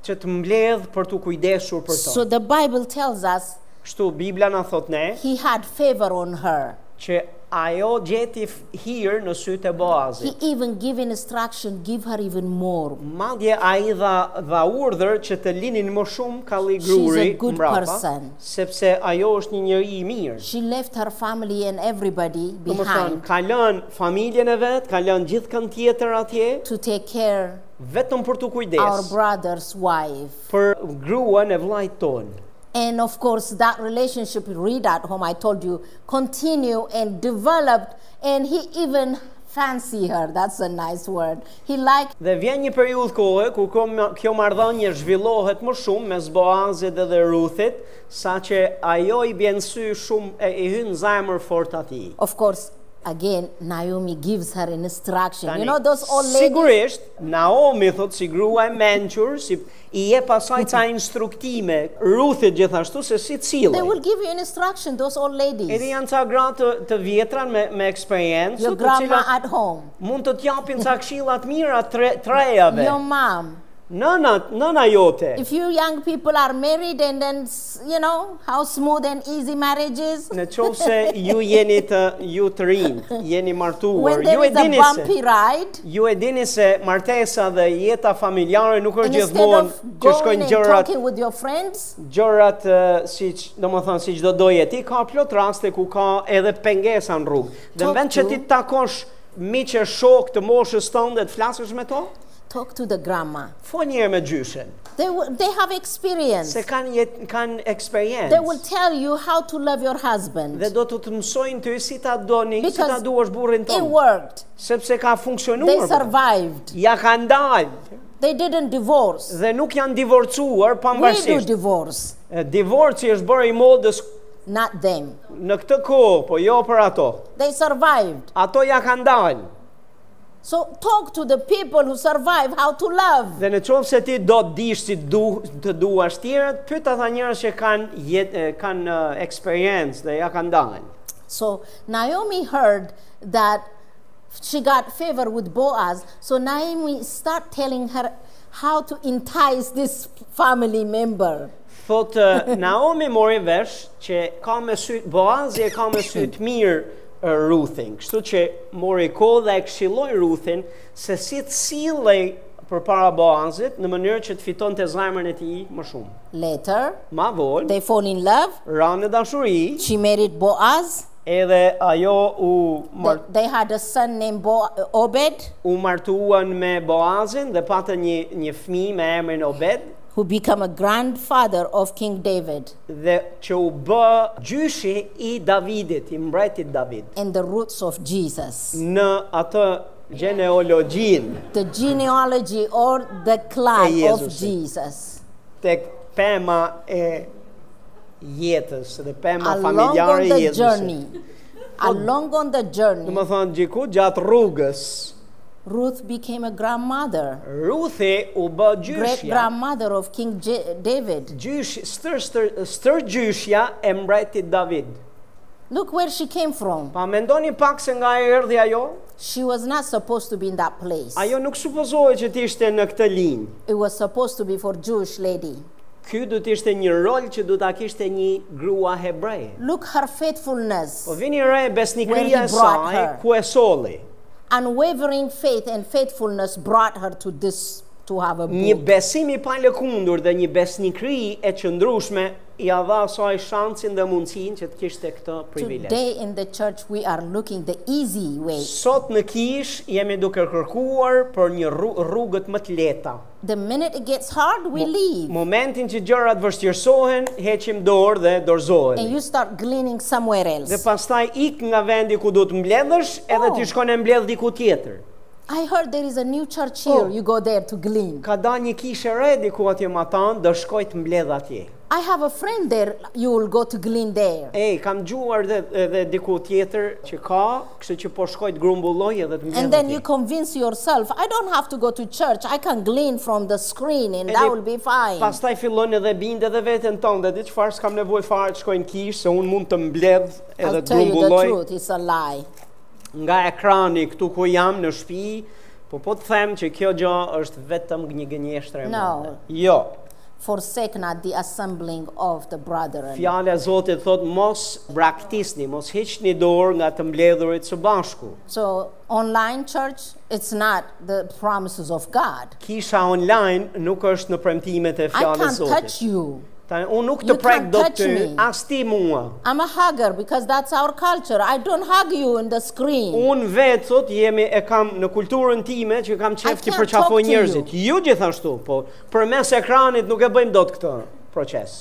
Speaker 1: që të mbledh për të kujdesur për
Speaker 2: So
Speaker 1: to.
Speaker 2: the Bible tells us
Speaker 1: Kështu Bibla na thot ne
Speaker 2: he had favor on her.
Speaker 1: që ajo gjeti f- hir në sytë e Boazit.
Speaker 2: He even gave instruction, give her even more.
Speaker 1: Madje ai dha dha urdhër që të linin më shumë kalli
Speaker 2: She's a
Speaker 1: gruri
Speaker 2: good
Speaker 1: mbrapa,
Speaker 2: person.
Speaker 1: sepse ajo është një njeri i mirë.
Speaker 2: She left her family and everybody
Speaker 1: Do të thonë,
Speaker 2: behind
Speaker 1: ka lënë familjen e vet, ka lënë gjithë kanë tjetër atje,
Speaker 2: to take care
Speaker 1: vetëm për të
Speaker 2: our
Speaker 1: kujdes
Speaker 2: brother's wife.
Speaker 1: për gruan e vllajt ton.
Speaker 2: And of course, that relationship, read at home, I told you, continue and developed. And he even fancy her. That's a nice word. He liked
Speaker 1: Dhe vjen një periudhë kohë ku kjo ma- kjo marrëdhënie zhvillohet më shumë mes Boazit edhe Ruthit, saqë ajo i bën sy shumë e i hyn zemër fort atij.
Speaker 2: Of course, again, Naomi gives her an instruction.
Speaker 1: Tani,
Speaker 2: you know those old ladies?
Speaker 1: Sigurisht, Naomi thot si grua e mençur, si i jep asaj ca instruktime, Ruthit gjithashtu se si
Speaker 2: They will
Speaker 1: cillet.
Speaker 2: give you an instruction, those old
Speaker 1: Edhe
Speaker 2: ladies.
Speaker 1: janë ca gra të, të vjetra me, me eksperiencë,
Speaker 2: Your
Speaker 1: të
Speaker 2: grandma
Speaker 1: cilat
Speaker 2: at home,
Speaker 1: mund të t'japin ca këshilla të mira tre, trejave.
Speaker 2: your mom.
Speaker 1: Nëna, nëna jote,
Speaker 2: If you young people are married and then, s- you know, how smooth and easy marriages.
Speaker 1: në qovë se ju jeni të, ju të rinjë, jeni martuar,
Speaker 2: When there
Speaker 1: ju e
Speaker 2: is a
Speaker 1: dini se...
Speaker 2: bumpy ride,
Speaker 1: Ju e dini se martesa dhe jeta familjare nuk është
Speaker 2: and instead
Speaker 1: gjithmonë
Speaker 2: of
Speaker 1: që
Speaker 2: going
Speaker 1: shkojnë
Speaker 2: and
Speaker 1: gjërat
Speaker 2: talking with your friends,
Speaker 1: gjërat ë, si q- do më thënë si çdo doje ti ka plot raste ku ka edhe pengesa në rrugë. Dhe në
Speaker 2: Talk
Speaker 1: vend që
Speaker 2: to-
Speaker 1: ti të takosh miqë e shok të moshës tënde të flasësh me to,
Speaker 2: talk to the grandma.
Speaker 1: fol një herë me gjyshen,
Speaker 2: They, will, they have experience.
Speaker 1: se kanë jet, kanë
Speaker 2: They will
Speaker 1: eksperiencë.
Speaker 2: tell you how to love your
Speaker 1: Dhe
Speaker 2: husband.
Speaker 1: do të të mësojnë ty si ta doni, si ta
Speaker 2: Because
Speaker 1: duash burrin
Speaker 2: It
Speaker 1: tonë,
Speaker 2: worked.
Speaker 1: sepse ka
Speaker 2: They
Speaker 1: funksionuar. pra.
Speaker 2: survived.
Speaker 1: Ja kanë dalë
Speaker 2: They didn't divorce.
Speaker 1: dhe nuk janë divorcuar
Speaker 2: We do
Speaker 1: pavarësisht.
Speaker 2: divorce,
Speaker 1: E, Divorci është bërë i modës
Speaker 2: not them.
Speaker 1: në këtë kohë, po jo për ato.
Speaker 2: They survived.
Speaker 1: Ato ja kanë dalë.
Speaker 2: So talk to the people who survive how to love.
Speaker 1: Dhe në qovë se ti do të dish si du, të duash tjerët, pyet ata njerëz që kanë jet, e, kanë uh, experience dhe ja kanë dalë.
Speaker 2: So Naomi heard that she got favor with Boaz. So Naomi start telling her how to entice this family member.
Speaker 1: Thot ë, Naomi mori vesh që ka me sy Boazi e ka me sy të mirë ë, Ruthin. Kështu që mori kohë dhe e këshilloi Ruthin se si të sillej përpara Boazit në mënyrë që të fitonte zemrën e tij më shumë.
Speaker 2: Later,
Speaker 1: Ma vonë
Speaker 2: they fall in love.
Speaker 1: ranë në dashuri,
Speaker 2: She married Boaz.
Speaker 1: edhe ajo u
Speaker 2: They,
Speaker 1: mar
Speaker 2: they had a son named Bo- Obed
Speaker 1: u martuan me Boazin dhe patën një një fëmijë me emrin Obed
Speaker 2: who became a grandfather of King David.
Speaker 1: dhe që u bë gjyshi i Davidit, i mbretit David.
Speaker 2: And the roots of Jesus.
Speaker 1: Në atë genealogjinë
Speaker 2: the genealogy or the clan
Speaker 1: Hey,
Speaker 2: of
Speaker 1: Jesus.
Speaker 2: Jesus.
Speaker 1: tek pema e jetës dhe pema
Speaker 2: Along
Speaker 1: familjare
Speaker 2: on
Speaker 1: e
Speaker 2: the
Speaker 1: jetës.
Speaker 2: journey,
Speaker 1: Oh.
Speaker 2: along on the
Speaker 1: Do
Speaker 2: journey,
Speaker 1: më thonë gjiku gjatë rrugës,
Speaker 2: Ruth became a grandmother,
Speaker 1: Ruthi u bë
Speaker 2: great
Speaker 1: gjyshja,
Speaker 2: grandmother of King J- David.
Speaker 1: gjysh, stër, stër, stër gjyshja e mbretit David.
Speaker 2: Look where she came from.
Speaker 1: Pa mendoni pak se nga e erdhi ajo?
Speaker 2: She was not supposed to be in that place.
Speaker 1: Ajo nuk supozohet që të ishte në këtë linjë.
Speaker 2: It was supposed to be for Jewish lady.
Speaker 1: Ky do të ishte një rol që do ta kishte një grua hebreje.
Speaker 2: Look her faithfulness,
Speaker 1: Po vini re besnikëria
Speaker 2: Where
Speaker 1: e
Speaker 2: he brought
Speaker 1: saj
Speaker 2: her.
Speaker 1: ku e solli.
Speaker 2: unwavering faith and faithfulness brought her to this to to have a
Speaker 1: Një
Speaker 2: book.
Speaker 1: besim i palëkundur dhe një besnikri e qëndrushme i a dha asaj shansin dhe mundësin që të kishte këtë privilegj.
Speaker 2: Today in the church we are looking the easy way,
Speaker 1: Sot në kish jemi duke kërkuar për një rru- rrugët më të leta.
Speaker 2: The minute it gets hard, we leave.
Speaker 1: Momentin që gjërat vështirësohen, heqim dorë dhe dorëzohemi.
Speaker 2: And you start gleaning somewhere
Speaker 1: Dhe
Speaker 2: else.
Speaker 1: pastaj ik nga vendi ku do të mbledhësh, edhe
Speaker 2: Oh.
Speaker 1: ti shkon e mbledh diku tjetër.
Speaker 2: I heard there is a new church
Speaker 1: Oh.
Speaker 2: here. You go there to glean.
Speaker 1: Ka da një kishë e re diku atje më tanë, do shkoj të mbledh atje.
Speaker 2: I have a friend there. You will go to glean there.
Speaker 1: Ej, kam gjuar dhe, edhe diku tjetër që ka, kështu që po shkoj të grumbulloj edhe të
Speaker 2: And
Speaker 1: mbledh
Speaker 2: then you
Speaker 1: atje.
Speaker 2: convince yourself, I don't have to go to church. I can glean from the screen and that
Speaker 1: Edhe
Speaker 2: will be fine.
Speaker 1: Pastaj fillon edhe binde dhe veten tonë, dhe di çfarë s'kam nevojë fare të shkoj në kishë, se unë mund të mbledh edhe
Speaker 2: I'll
Speaker 1: të
Speaker 2: tell you the
Speaker 1: grumbulloj
Speaker 2: truth. It's a lie.
Speaker 1: nga ekrani këtu ku jam në shtëpi, po po të them që kjo gjë është vetëm një gënjeshtre e
Speaker 2: No.
Speaker 1: madhe. Jo.
Speaker 2: Forsake not the assembling of the brethren.
Speaker 1: Fjala e Zotit thot mos braktisni, mos hiqni dorë nga të mbledhurit së bashku.
Speaker 2: So, online church, it's not the promises of God.
Speaker 1: Kisha online nuk është në premtimet e
Speaker 2: I
Speaker 1: fjalës
Speaker 2: can't
Speaker 1: së
Speaker 2: touch
Speaker 1: Zotit.
Speaker 2: you.
Speaker 1: Ta, unë nuk të
Speaker 2: You
Speaker 1: prek
Speaker 2: can't
Speaker 1: do
Speaker 2: touch
Speaker 1: ty,
Speaker 2: me.
Speaker 1: as ti mua.
Speaker 2: I'm a hugger because that's our culture. I don't hug you in the screen.
Speaker 1: Unë vetë sot jemi e kam në kulturën time që kam
Speaker 2: I
Speaker 1: qef të
Speaker 2: can't
Speaker 1: përqafoj
Speaker 2: talk to
Speaker 1: njerëzit. Ju gjithashtu, po përmes ekranit nuk e bëjmë dot këtë proces.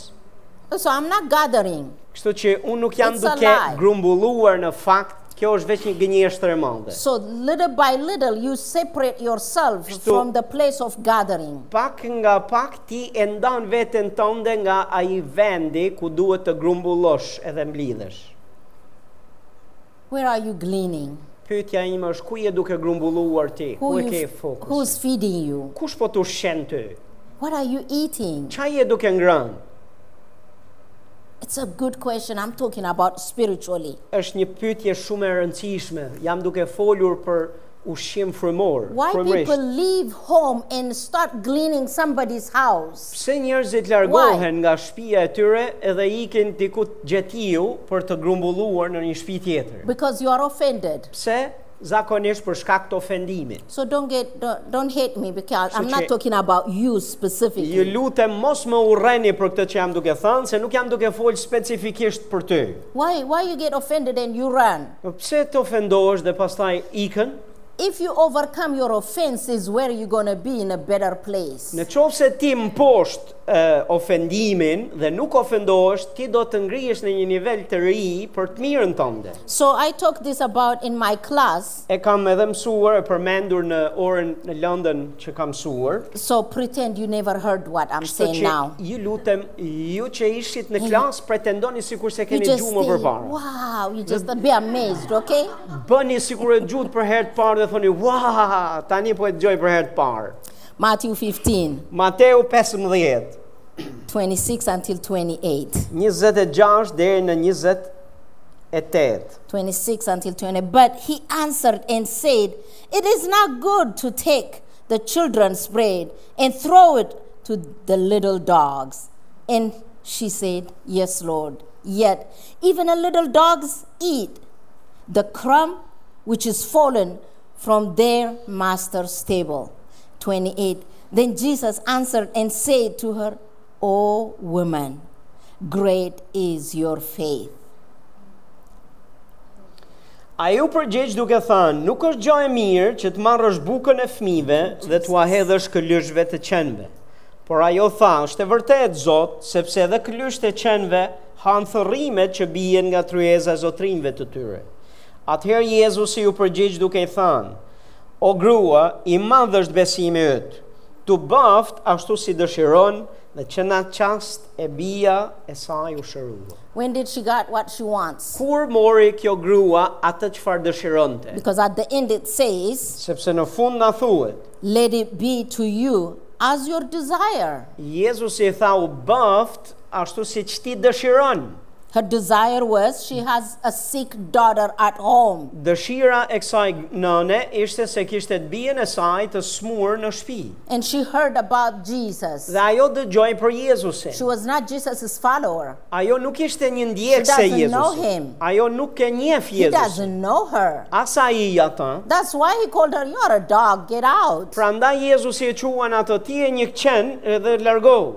Speaker 2: So I'm not gathering.
Speaker 1: Kështu që unë nuk jam
Speaker 2: It's a
Speaker 1: duke
Speaker 2: lie.
Speaker 1: grumbulluar në fakt, kjo është veç një gënjeshtër e madhe.
Speaker 2: So little by little, you separate yourself
Speaker 1: Kështu-
Speaker 2: from the place of gathering.
Speaker 1: pak nga pak ti e ndan veten tënde nga ai vendi ku duhet të grumbullosh edhe mblidhesh.
Speaker 2: Where are you gleaning?
Speaker 1: Pyetja ime është ku je duke grumbulluar ti? Ku e
Speaker 2: you-
Speaker 1: ke fokus?
Speaker 2: who's feeding you?
Speaker 1: Kush po të ushqen ty?
Speaker 2: What are you eating?
Speaker 1: Qa je duke ngrënë?
Speaker 2: It's a good question. I'm talking about spiritually.
Speaker 1: Është një pyetje shumë e rëndësishme. Jam duke folur për ushqim frymor,
Speaker 2: Why people
Speaker 1: frymërisht.
Speaker 2: leave home and start gleaning somebody's house?
Speaker 1: Pse njerëzit largohen nga shtëpia e tyre edhe ikin diku gjetiu për të grumbulluar në një shtëpi tjetër?
Speaker 2: Because you are offended.
Speaker 1: Pse? Zakonisht për shkak të ofendimit.
Speaker 2: So don't get don't, don't hate me because I'm
Speaker 1: Kështu
Speaker 2: not
Speaker 1: që-
Speaker 2: talking about
Speaker 1: Ju
Speaker 2: you specifically.
Speaker 1: lutem mos më urreni për këtë që jam duke thënë, se nuk jam duke fol specifikisht për ty.
Speaker 2: Why why you get offended and you run?
Speaker 1: Po Pse të ofendohesh dhe pastaj ikën?
Speaker 2: If you overcome your offenses, where are you gonna be in a better place?
Speaker 1: Në qovë se ti më poshtë ofendimin dhe nuk ofendohesh, ti do të ngrihesh në një nivel të ri për të mirën tënde.
Speaker 2: So I talk this about in my class.
Speaker 1: E kam edhe mësuar, e përmendur në orën në London që kam mësuar.
Speaker 2: So pretend you never heard what I'm
Speaker 1: Kështu
Speaker 2: saying
Speaker 1: që
Speaker 2: now. Mm.
Speaker 1: ju lutem, ju që ishit në klasë, pretendoni sikur se
Speaker 2: You
Speaker 1: keni
Speaker 2: just
Speaker 1: gjumë më
Speaker 2: think,
Speaker 1: përpara.
Speaker 2: wow, you just be amazed, okay?
Speaker 1: Bëni sikur e gjut për herë të parë dhe thoni, "Ua, tani po e dëgjoj për herë të parë."
Speaker 2: Matthew 15,
Speaker 1: Mateu 15,
Speaker 2: 26 until 28.
Speaker 1: 26 deri në 28.
Speaker 2: 26 until 20. But he answered and said, It is not good to take the children's bread and throw it to the little dogs. And she said, Yes, Lord. Yet even the little dogs eat the crumb which is fallen from their master's table. 28. Then Jesus answered and said to her, O woman, great is your faith.
Speaker 1: Ai u përgjigj duke thënë, "Nuk është gjë e mirë që të marrësh bukën e fëmijëve dhe t'ua hedhësh këlyshve të qenve." Por ajo tha, "Është e vërtetë, Zot, sepse edhe këlyshët e qenve han thërrimet që bien nga tryeza e zotrinjve të tyre." Atëherë Jezusi u përgjigj duke i thënë, "O grua, i madh është besimi yt. Tu bëft ashtu si dëshiron." Dhe që në atë qast e bia e saj u shërua.
Speaker 2: When did she got what she wants?
Speaker 1: Kur mori kjo grua atë çfarë dëshironte?
Speaker 2: Because at the end it says,
Speaker 1: sepse në fund na thuhet,
Speaker 2: Let it be to you as your desire.
Speaker 1: Jezusi i tha u bëft ashtu si që ti dëshiron.
Speaker 2: Her desire was she has a sick daughter at home.
Speaker 1: Dëshira e kësaj nëne ishte se kishte të bijën e saj të smur në shtëpi.
Speaker 2: And she heard about Jesus.
Speaker 1: Dhe ajo dëgjoi për Jezusin.
Speaker 2: She was not Jesus' follower.
Speaker 1: Ajo nuk ishte një ndjekse
Speaker 2: She
Speaker 1: e
Speaker 2: doesn't know
Speaker 1: Jezusit.
Speaker 2: him.
Speaker 1: Ajo nuk e njeh
Speaker 2: He
Speaker 1: Jezusin.
Speaker 2: doesn't know her.
Speaker 1: As ai atë.
Speaker 2: That's why he called her, You're a dog, get out.
Speaker 1: Prandaj Jezusi e quan atë ti e një qen edhe largohu.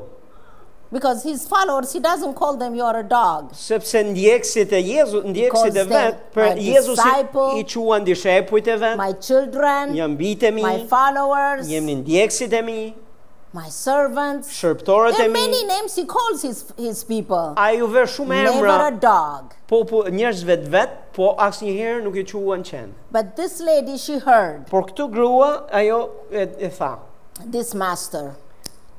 Speaker 2: Because his followers, he doesn't call them, You're a dog.
Speaker 1: sepse ndjekësit e Jezus, ndjekësit e
Speaker 2: Because
Speaker 1: vet,
Speaker 2: they-
Speaker 1: për
Speaker 2: my
Speaker 1: Jezusit
Speaker 2: disciple,
Speaker 1: i quan dishepujt e vet,
Speaker 2: My children,
Speaker 1: jam bitë e mi,
Speaker 2: my followers,
Speaker 1: jem një ndjekësit e mi,
Speaker 2: my servants.
Speaker 1: shërptorët
Speaker 2: There
Speaker 1: e
Speaker 2: are
Speaker 1: mi,
Speaker 2: many names he calls his, his people.
Speaker 1: a ju vë shumë emra,
Speaker 2: Never a dog.
Speaker 1: po, po njerëzve të vet, po asnjëherë nuk i quan qenë.
Speaker 2: But this lady, she heard
Speaker 1: Por këtu grua, ajo e, e tha,
Speaker 2: this master,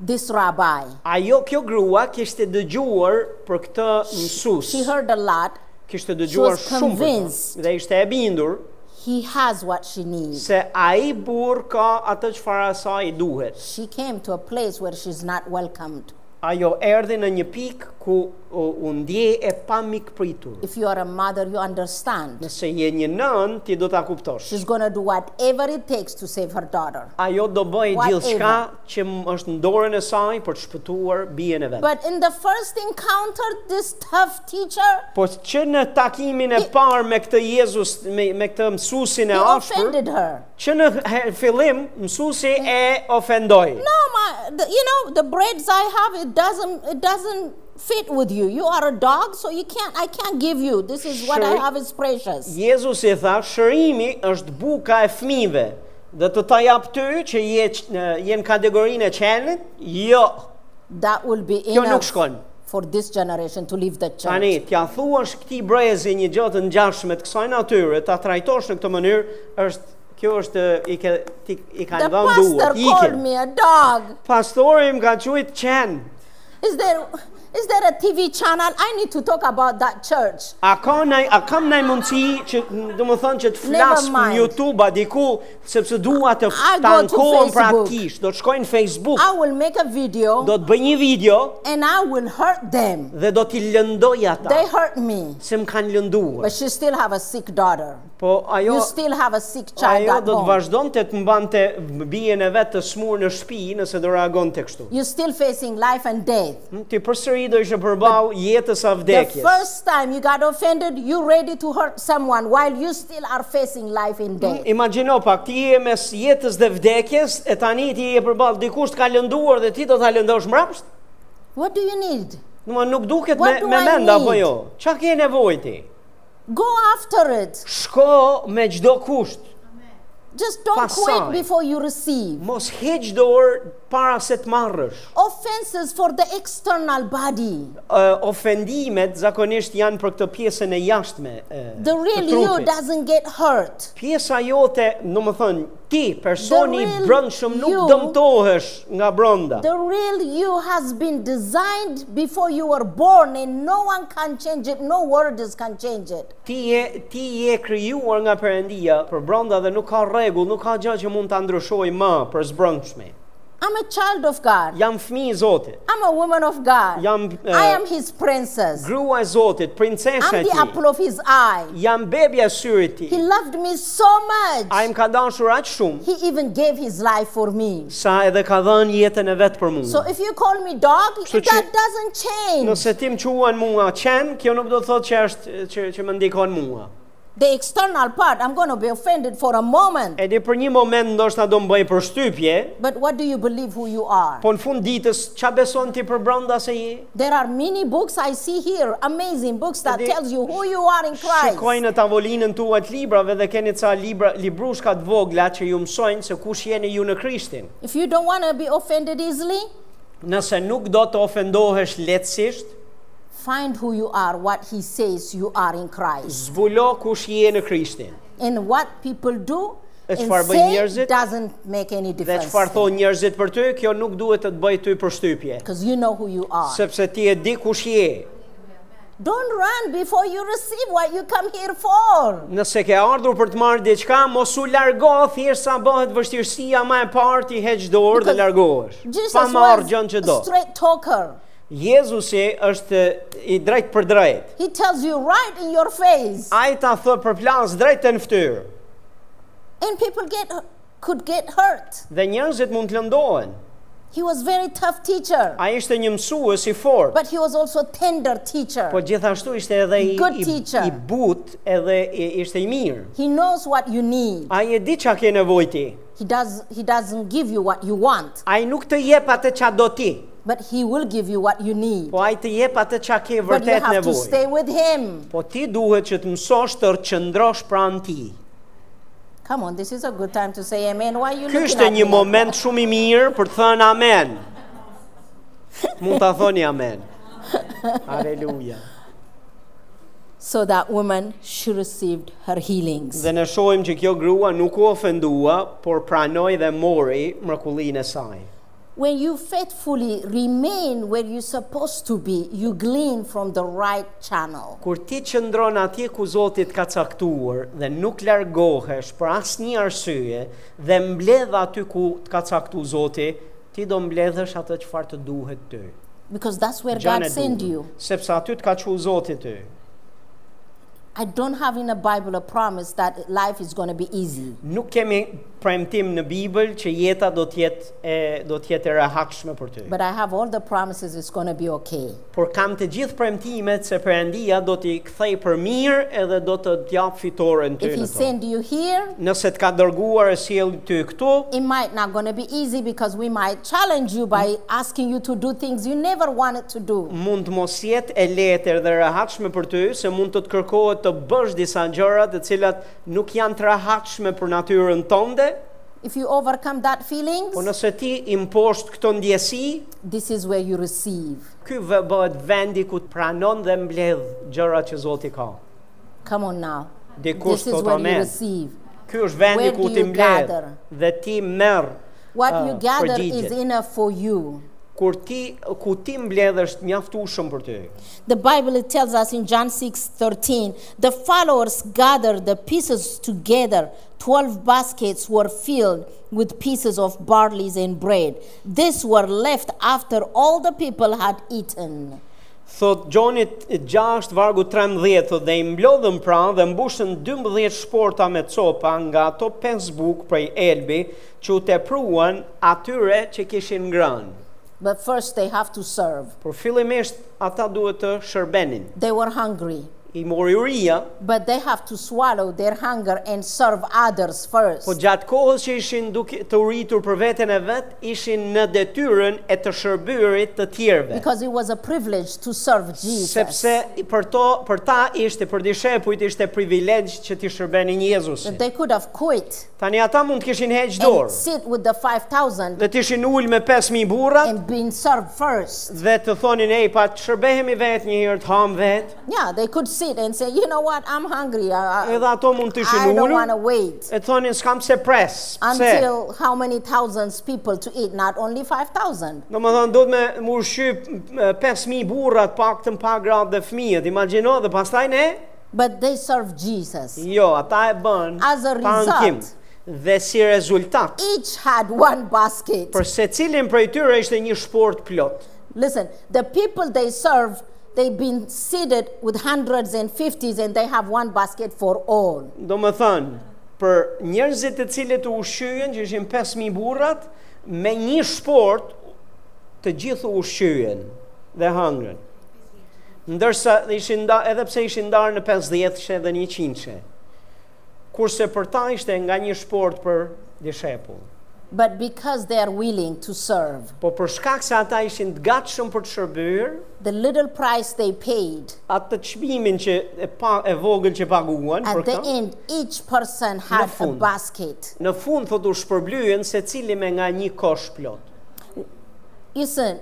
Speaker 2: this rabbi.
Speaker 1: ajo kjo grua kishte dëgjuar për këtë mësues,
Speaker 2: She heard a lot.
Speaker 1: kishte dëgjuar
Speaker 2: was
Speaker 1: shumë për
Speaker 2: convinced.
Speaker 1: të, dhe ishte e bindur,
Speaker 2: He has what she needs.
Speaker 1: se a i burë ka atë që fara sa i duhet.
Speaker 2: She came to a place where she's not welcomed.
Speaker 1: ajo erdhi në një pikë ku u, u ndje e pa mikpritur.
Speaker 2: If you are a mother, you understand.
Speaker 1: Nëse je një nën, ti do ta kuptosh.
Speaker 2: She's going to do whatever it takes to save her daughter.
Speaker 1: Ajo do bëj
Speaker 2: What
Speaker 1: gjithçka që m- është në dorën e saj për të shpëtuar bijën e vet.
Speaker 2: But in the first encounter, this tough teacher,
Speaker 1: Po që në takimin e
Speaker 2: He-
Speaker 1: parë me këtë Jezus, me, me këtë mësuesin
Speaker 2: he
Speaker 1: e ashpër,
Speaker 2: offended her.
Speaker 1: që në he- fillim mësuesi e ofendoi.
Speaker 2: No, my, the, you know, the breads I have, it doesn't, it doesn't fit with you. You are a dog, so you can't, I can't give you. This is what I
Speaker 1: Sure.
Speaker 2: have is precious.
Speaker 1: Jezusi tha, shërimi është buka e fëmijëve. Dhe të ta jap ty që je q- në- je në kategorinë e qenit? Jo,
Speaker 2: That will be
Speaker 1: kjo nuk
Speaker 2: enough
Speaker 1: shkon.
Speaker 2: for this generation to leave the church.
Speaker 1: Tani, t'ja thuash këtij brezi një gjë të ngjashme të kësaj natyre, ta trajtosh në këtë mënyrë, është kjo është e, i ke ti i
Speaker 2: The
Speaker 1: kanë dhënë
Speaker 2: pastor
Speaker 1: duart.
Speaker 2: called
Speaker 1: Ikën.
Speaker 2: me a dog.
Speaker 1: Pastori më ka thujt qen.
Speaker 2: Is there, is there a TV channel? I need to talk about that church.
Speaker 1: A ka ndaj a kam ndaj mundësi që do të thonë që të flas
Speaker 2: Never
Speaker 1: në
Speaker 2: mind.
Speaker 1: YouTube a diku sepse dua të
Speaker 2: I
Speaker 1: ta
Speaker 2: go to
Speaker 1: ankohem
Speaker 2: Facebook.
Speaker 1: praktikisht, do të shkoj në Facebook,
Speaker 2: I will make a video
Speaker 1: do të bëj një video
Speaker 2: and I will hurt them.
Speaker 1: dhe do t'i lëndoj ata
Speaker 2: They hurt me.
Speaker 1: se më kanë lënduar.
Speaker 2: But she still have a sick daughter.
Speaker 1: Po ajo
Speaker 2: You still have a sick child
Speaker 1: Ajo
Speaker 2: at
Speaker 1: do të
Speaker 2: home.
Speaker 1: vazhdonte të mbante bijën e vet të smur në shtëpi nëse do reagonte kështu. Hm,
Speaker 2: You're still facing life and death.
Speaker 1: Ti përsëri do ishe përball jetës së
Speaker 2: The
Speaker 1: vdekjes.
Speaker 2: first time you got offended, you ready to hurt someone while you still are facing life and
Speaker 1: Mm.
Speaker 2: death.
Speaker 1: Hm, Imagjino pak, ti je mes jetës dhe vdekjes, e tani ti je përball dikush të ka lënduar dhe ti do ta lëndosh mbrapsht?
Speaker 2: What do you need?
Speaker 1: Do nuk duket me
Speaker 2: What do
Speaker 1: me
Speaker 2: I
Speaker 1: mend apo
Speaker 2: need?
Speaker 1: jo. Çka ke nevojë ti?
Speaker 2: Go after it.
Speaker 1: Shko me çdo kusht.
Speaker 2: Just don't
Speaker 1: Pasaj.
Speaker 2: quit before you receive.
Speaker 1: Mos heq dorë para se të marrësh.
Speaker 2: offenses for the external body.
Speaker 1: Ë, ofendimet zakonisht janë për këtë pjesën e jashtme. ë,
Speaker 2: The
Speaker 1: të
Speaker 2: real you
Speaker 1: trupit.
Speaker 2: doesn't get hurt.
Speaker 1: Pjesa jote, në më thënë, ti, personi i
Speaker 2: The real
Speaker 1: brëndshëm nuk
Speaker 2: you-
Speaker 1: dëmtohesh nga brënda.
Speaker 2: The real you has been designed before you were born, and no one can change it. No words can change it.
Speaker 1: Ti je, ti je kryuar nga përëndia për brënda dhe nuk ka regull, nuk ka gjë që mund të ndryshoj më për zbrëndshme.
Speaker 2: I'm a child of God.
Speaker 1: Jam fmi i Zotit,
Speaker 2: I'm a woman of God.
Speaker 1: jam eh,
Speaker 2: I am His princess.
Speaker 1: grua e Zotit, princesha
Speaker 2: I'm
Speaker 1: e
Speaker 2: the
Speaker 1: ti,
Speaker 2: apple of His eye.
Speaker 1: jam bebja e syrit
Speaker 2: He
Speaker 1: ti.
Speaker 2: loved me so
Speaker 1: A
Speaker 2: much.
Speaker 1: im ka dashur aqë shumë,
Speaker 2: He even gave His life for me.
Speaker 1: sa edhe ka dhënë jetën e vetë për
Speaker 2: So
Speaker 1: mua.
Speaker 2: if you call me dog,
Speaker 1: Kështu që-
Speaker 2: that doesn't change.
Speaker 1: Nëse ti më quan mua qenë, kjo nuk do të thotë që është që, që më ndikon mua.
Speaker 2: The external part, I'm going to be offended for a moment.
Speaker 1: Edhe për një moment ndoshta do më bëj përshtypje,
Speaker 2: But what do you believe who you are?
Speaker 1: Po në fund ditës, qa beson ti për brënda se je?
Speaker 2: There are many books I see here, amazing books that
Speaker 1: They-
Speaker 2: tells you who you are in Christ.
Speaker 1: Shikoj në tavolinën tuaj të librave dhe keni ca libra, librushka të vogla që ju mësojnë se kush jeni ju në Krishtin.
Speaker 2: If you don't want to be offended easily,
Speaker 1: Nëse nuk do të ofendohesh lehtësisht,
Speaker 2: find who you are, what he says you are in Christ.
Speaker 1: zbulo kush je në Krishtin.
Speaker 2: And what people do
Speaker 1: E
Speaker 2: and
Speaker 1: çfarë bëjnë
Speaker 2: say
Speaker 1: njerëzit?
Speaker 2: doesn't make any
Speaker 1: Dhe
Speaker 2: difference.
Speaker 1: çfarë thonë njerëzit për ty, kjo nuk duhet të të bëj ty përshtypje,
Speaker 2: Because you know who you are.
Speaker 1: sepse ti e di kush je.
Speaker 2: don't run before you receive what you come here for.
Speaker 1: Nëse ke ardhur për të marrë diçka, mos u largo thjesht sa bëhet vështirësia më e parë ti heq dorë dhe
Speaker 2: Because
Speaker 1: largohesh.
Speaker 2: Jesus
Speaker 1: Pa marrë gjën që do.
Speaker 2: was a straight talker.
Speaker 1: Jezusi është i drejtë për drejtë.
Speaker 2: He tells you right in your face.
Speaker 1: Ai ta thë përplas drejtë në fytyrë
Speaker 2: And people get could get hurt.
Speaker 1: dhe njerëzit mund të lëndohen.
Speaker 2: He was very tough teacher,
Speaker 1: Ai ishte një mësues i fortë,
Speaker 2: but he was also tender teacher.
Speaker 1: po gjithashtu ishte edhe i
Speaker 2: Good
Speaker 1: i,
Speaker 2: teacher.
Speaker 1: i but edhe i, ishte i mirë.
Speaker 2: He knows what you need.
Speaker 1: Ai e di çka ke nevojë ti.
Speaker 2: He does he doesn't give you what you want,
Speaker 1: Ai nuk të jep atë çka do ti,
Speaker 2: but he will give you what you need.
Speaker 1: po ai të jep atë çka ke
Speaker 2: But you
Speaker 1: vërtet
Speaker 2: have to
Speaker 1: nevojë.
Speaker 2: stay with him.
Speaker 1: Po ti duhet që të mësosh të qëndrosh pranë tij.
Speaker 2: Come on, this is a good time to say amen. Why are you
Speaker 1: Ky
Speaker 2: looking
Speaker 1: është
Speaker 2: at me
Speaker 1: një
Speaker 2: like
Speaker 1: moment shumë i mirë për të thënë amen. Mund ta thoni amen. Aleluja.
Speaker 2: that? So that woman she received her healings.
Speaker 1: Dhe ne shohim që kjo grua nuk u ofendua, por pranoi dhe mori mrekullinë e saj.
Speaker 2: When you faithfully remain where you're supposed to be, you glean from the right channel.
Speaker 1: Kur ti qëndron atje ku Zoti të ka caktuar dhe nuk largohesh për asnjë arsye dhe mbledh aty ku të ka caktuar Zoti, ti do mbledhësh atë çfarë të duhet ty.
Speaker 2: Because that's where
Speaker 1: Gjan
Speaker 2: God
Speaker 1: e
Speaker 2: sent
Speaker 1: duhur,
Speaker 2: you.
Speaker 1: sepse aty të ka çu Zoti ty.
Speaker 2: I don't have in the Bible a promise that life is going to be easy.
Speaker 1: Nuk kemi premtim në Bibël që jeta do të jetë e do të jetë e rehatshme për ty.
Speaker 2: But I have all the promises it's going to be okay.
Speaker 1: Por kam të gjithë premtimet se Perëndia do t'i kthej për mirë edhe do të t'jap fitoren ty
Speaker 2: If he
Speaker 1: në to.
Speaker 2: send you here,
Speaker 1: Nëse t'ka dërguar e sjell ty këtu,
Speaker 2: it might not going to be easy because we might challenge you by asking you to do things you never wanted to do.
Speaker 1: mund të mos jetë e letër dhe rehatshme për ty, se mund të të kërkohet të bësh disa gjëra të cilat nuk janë të rehatshme për natyrën tënde,
Speaker 2: If you overcome that
Speaker 1: po
Speaker 2: feelings,
Speaker 1: nëse ti imposht këto ndjesi,
Speaker 2: this is where you receive.
Speaker 1: ky vë bëhet vendi ku të pranon dhe mbledh gjërat që Zoti ka.
Speaker 2: Come on now.
Speaker 1: Dikush
Speaker 2: This is
Speaker 1: thot
Speaker 2: where you
Speaker 1: amen.
Speaker 2: receive.
Speaker 1: Ky është vendi
Speaker 2: Where
Speaker 1: ku
Speaker 2: do
Speaker 1: ti
Speaker 2: you
Speaker 1: mbledh
Speaker 2: gather?
Speaker 1: dhe ti merr
Speaker 2: What
Speaker 1: uh,
Speaker 2: you gather
Speaker 1: përgjigjet.
Speaker 2: is enough for you.
Speaker 1: kur ti ku ti mbledh është mjaftueshëm për ty.
Speaker 2: The Bible it tells us in John 6 13, the followers gathered the pieces together. Twelve baskets were filled with pieces of barley and bread. These were left after all the people had eaten.
Speaker 1: Thot Gjoni 6 vargu 13 thot dhe i mblodhën pra dhe mbushën 12 shporta me copa nga ato 5 buk prej Elbi që u tepruan atyre që kishin ngrënë.
Speaker 2: But first they have to serve.
Speaker 1: Por fillimisht ata duhet të shërbenin.
Speaker 2: They were hungry,
Speaker 1: I mori uria,
Speaker 2: but they have to swallow their hunger and serve others first.
Speaker 1: po gjatë kohës që ishin duke të uritur për veten e vet, ishin në detyrën e të shërbyrit të tjerëve.
Speaker 2: Because it was a privilege to serve Jesus.
Speaker 1: Sepse i- për to për ta ishte për dishepujt ishte privilegj që ti shërbenin Jezusit.
Speaker 2: They could have quit
Speaker 1: Tani ata mund të kishin heq
Speaker 2: and
Speaker 1: dorë
Speaker 2: sit with the 5,000
Speaker 1: dhe të ishin ul me 5000 burrat
Speaker 2: and been served first.
Speaker 1: dhe të thonin ej pa të shërbehemi vetë një herë të ham vetë
Speaker 2: Yeah, they could sit and say, you know what, I'm hungry. I, I,
Speaker 1: edhe ato mund të
Speaker 2: I
Speaker 1: ishin
Speaker 2: don't
Speaker 1: ulur
Speaker 2: want to wait
Speaker 1: e thonin s'kam se pres pse
Speaker 2: until how many thousands people to eat, not only 5,000.
Speaker 1: do më thonë do të me më ushqyp 5000 burrat pak të pa gratë dhe fëmijët imagino dhe pastaj ne
Speaker 2: But they serve Jesus.
Speaker 1: jo ata e bën
Speaker 2: As a
Speaker 1: pa ankim
Speaker 2: result.
Speaker 1: dhe si rezultat
Speaker 2: Each had one basket.
Speaker 1: për se cilin prej tyre ishte një shport plot
Speaker 2: Listen, the people they serve, they've been seated with hundreds and fifties and they have one basket for all.
Speaker 1: do më thënë, për njerëzit të cilët u ushqyen, që ishin 5.000 burrat, me një shport të gjithë u ushqyen dhe hangrën. Ndërsa ishin nda, edhe pse ishin ndarë në 50 she dhe 100 she. Kurse për ta ishte nga një shport për dishepull.
Speaker 2: But because they are willing to serve,
Speaker 1: Po për shkak se ata ishin të gatshëm për të shërbyer,
Speaker 2: the little price they paid,
Speaker 1: atë çmimin që e pa e vogël që paguan
Speaker 2: at
Speaker 1: për
Speaker 2: the
Speaker 1: këtë,
Speaker 2: end, each person had a
Speaker 1: fund.
Speaker 2: basket.
Speaker 1: në fund thotë u shpërblyen secili me nga një kosh plot.
Speaker 2: Listen,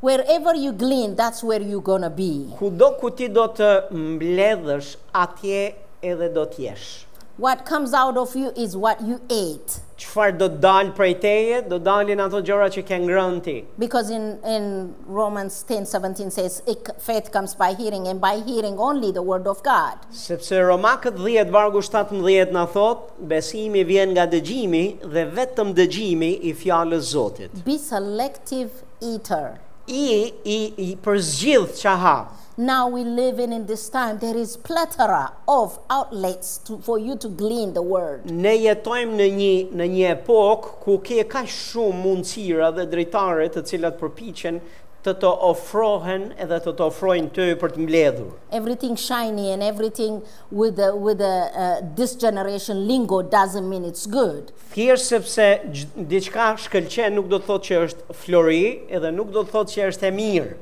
Speaker 2: wherever you glean, that's where you're going to be.
Speaker 1: Kudo ku ti do të mbledhësh, atje edhe do t'jesh.
Speaker 2: What comes out of you is what you ate.
Speaker 1: Çfarë do të dalë prej teje, do dalin ato gjëra që ke ngrënë ti.
Speaker 2: Because in, in Romans 10 17 says, "It- faith comes by hearing, and by hearing only the word of God.
Speaker 1: Sepse Romakët 10 vargu 17 na thot, besimi vjen nga dëgjimi dhe vetëm dëgjimi i fjalës Zotit.
Speaker 2: Be selective eater.
Speaker 1: i, i, i përzgjidh që ha.
Speaker 2: Now we live in, in this time, there is plethora of outlets to, for you to glean the word.
Speaker 1: Ne jetojmë në një, në një epokë ku ke ka shumë mundësira dhe drejtare të cilat përpiqen të të ofrohen edhe të të ofrojnë ty për të mbledhur.
Speaker 2: Everything shiny and everything with the, with the uh, this generation lingo doesn't mean it's good.
Speaker 1: Thjesht sepse gj- diçka shkëlqen nuk do të thotë që është flori edhe nuk do të thotë që është e mirë.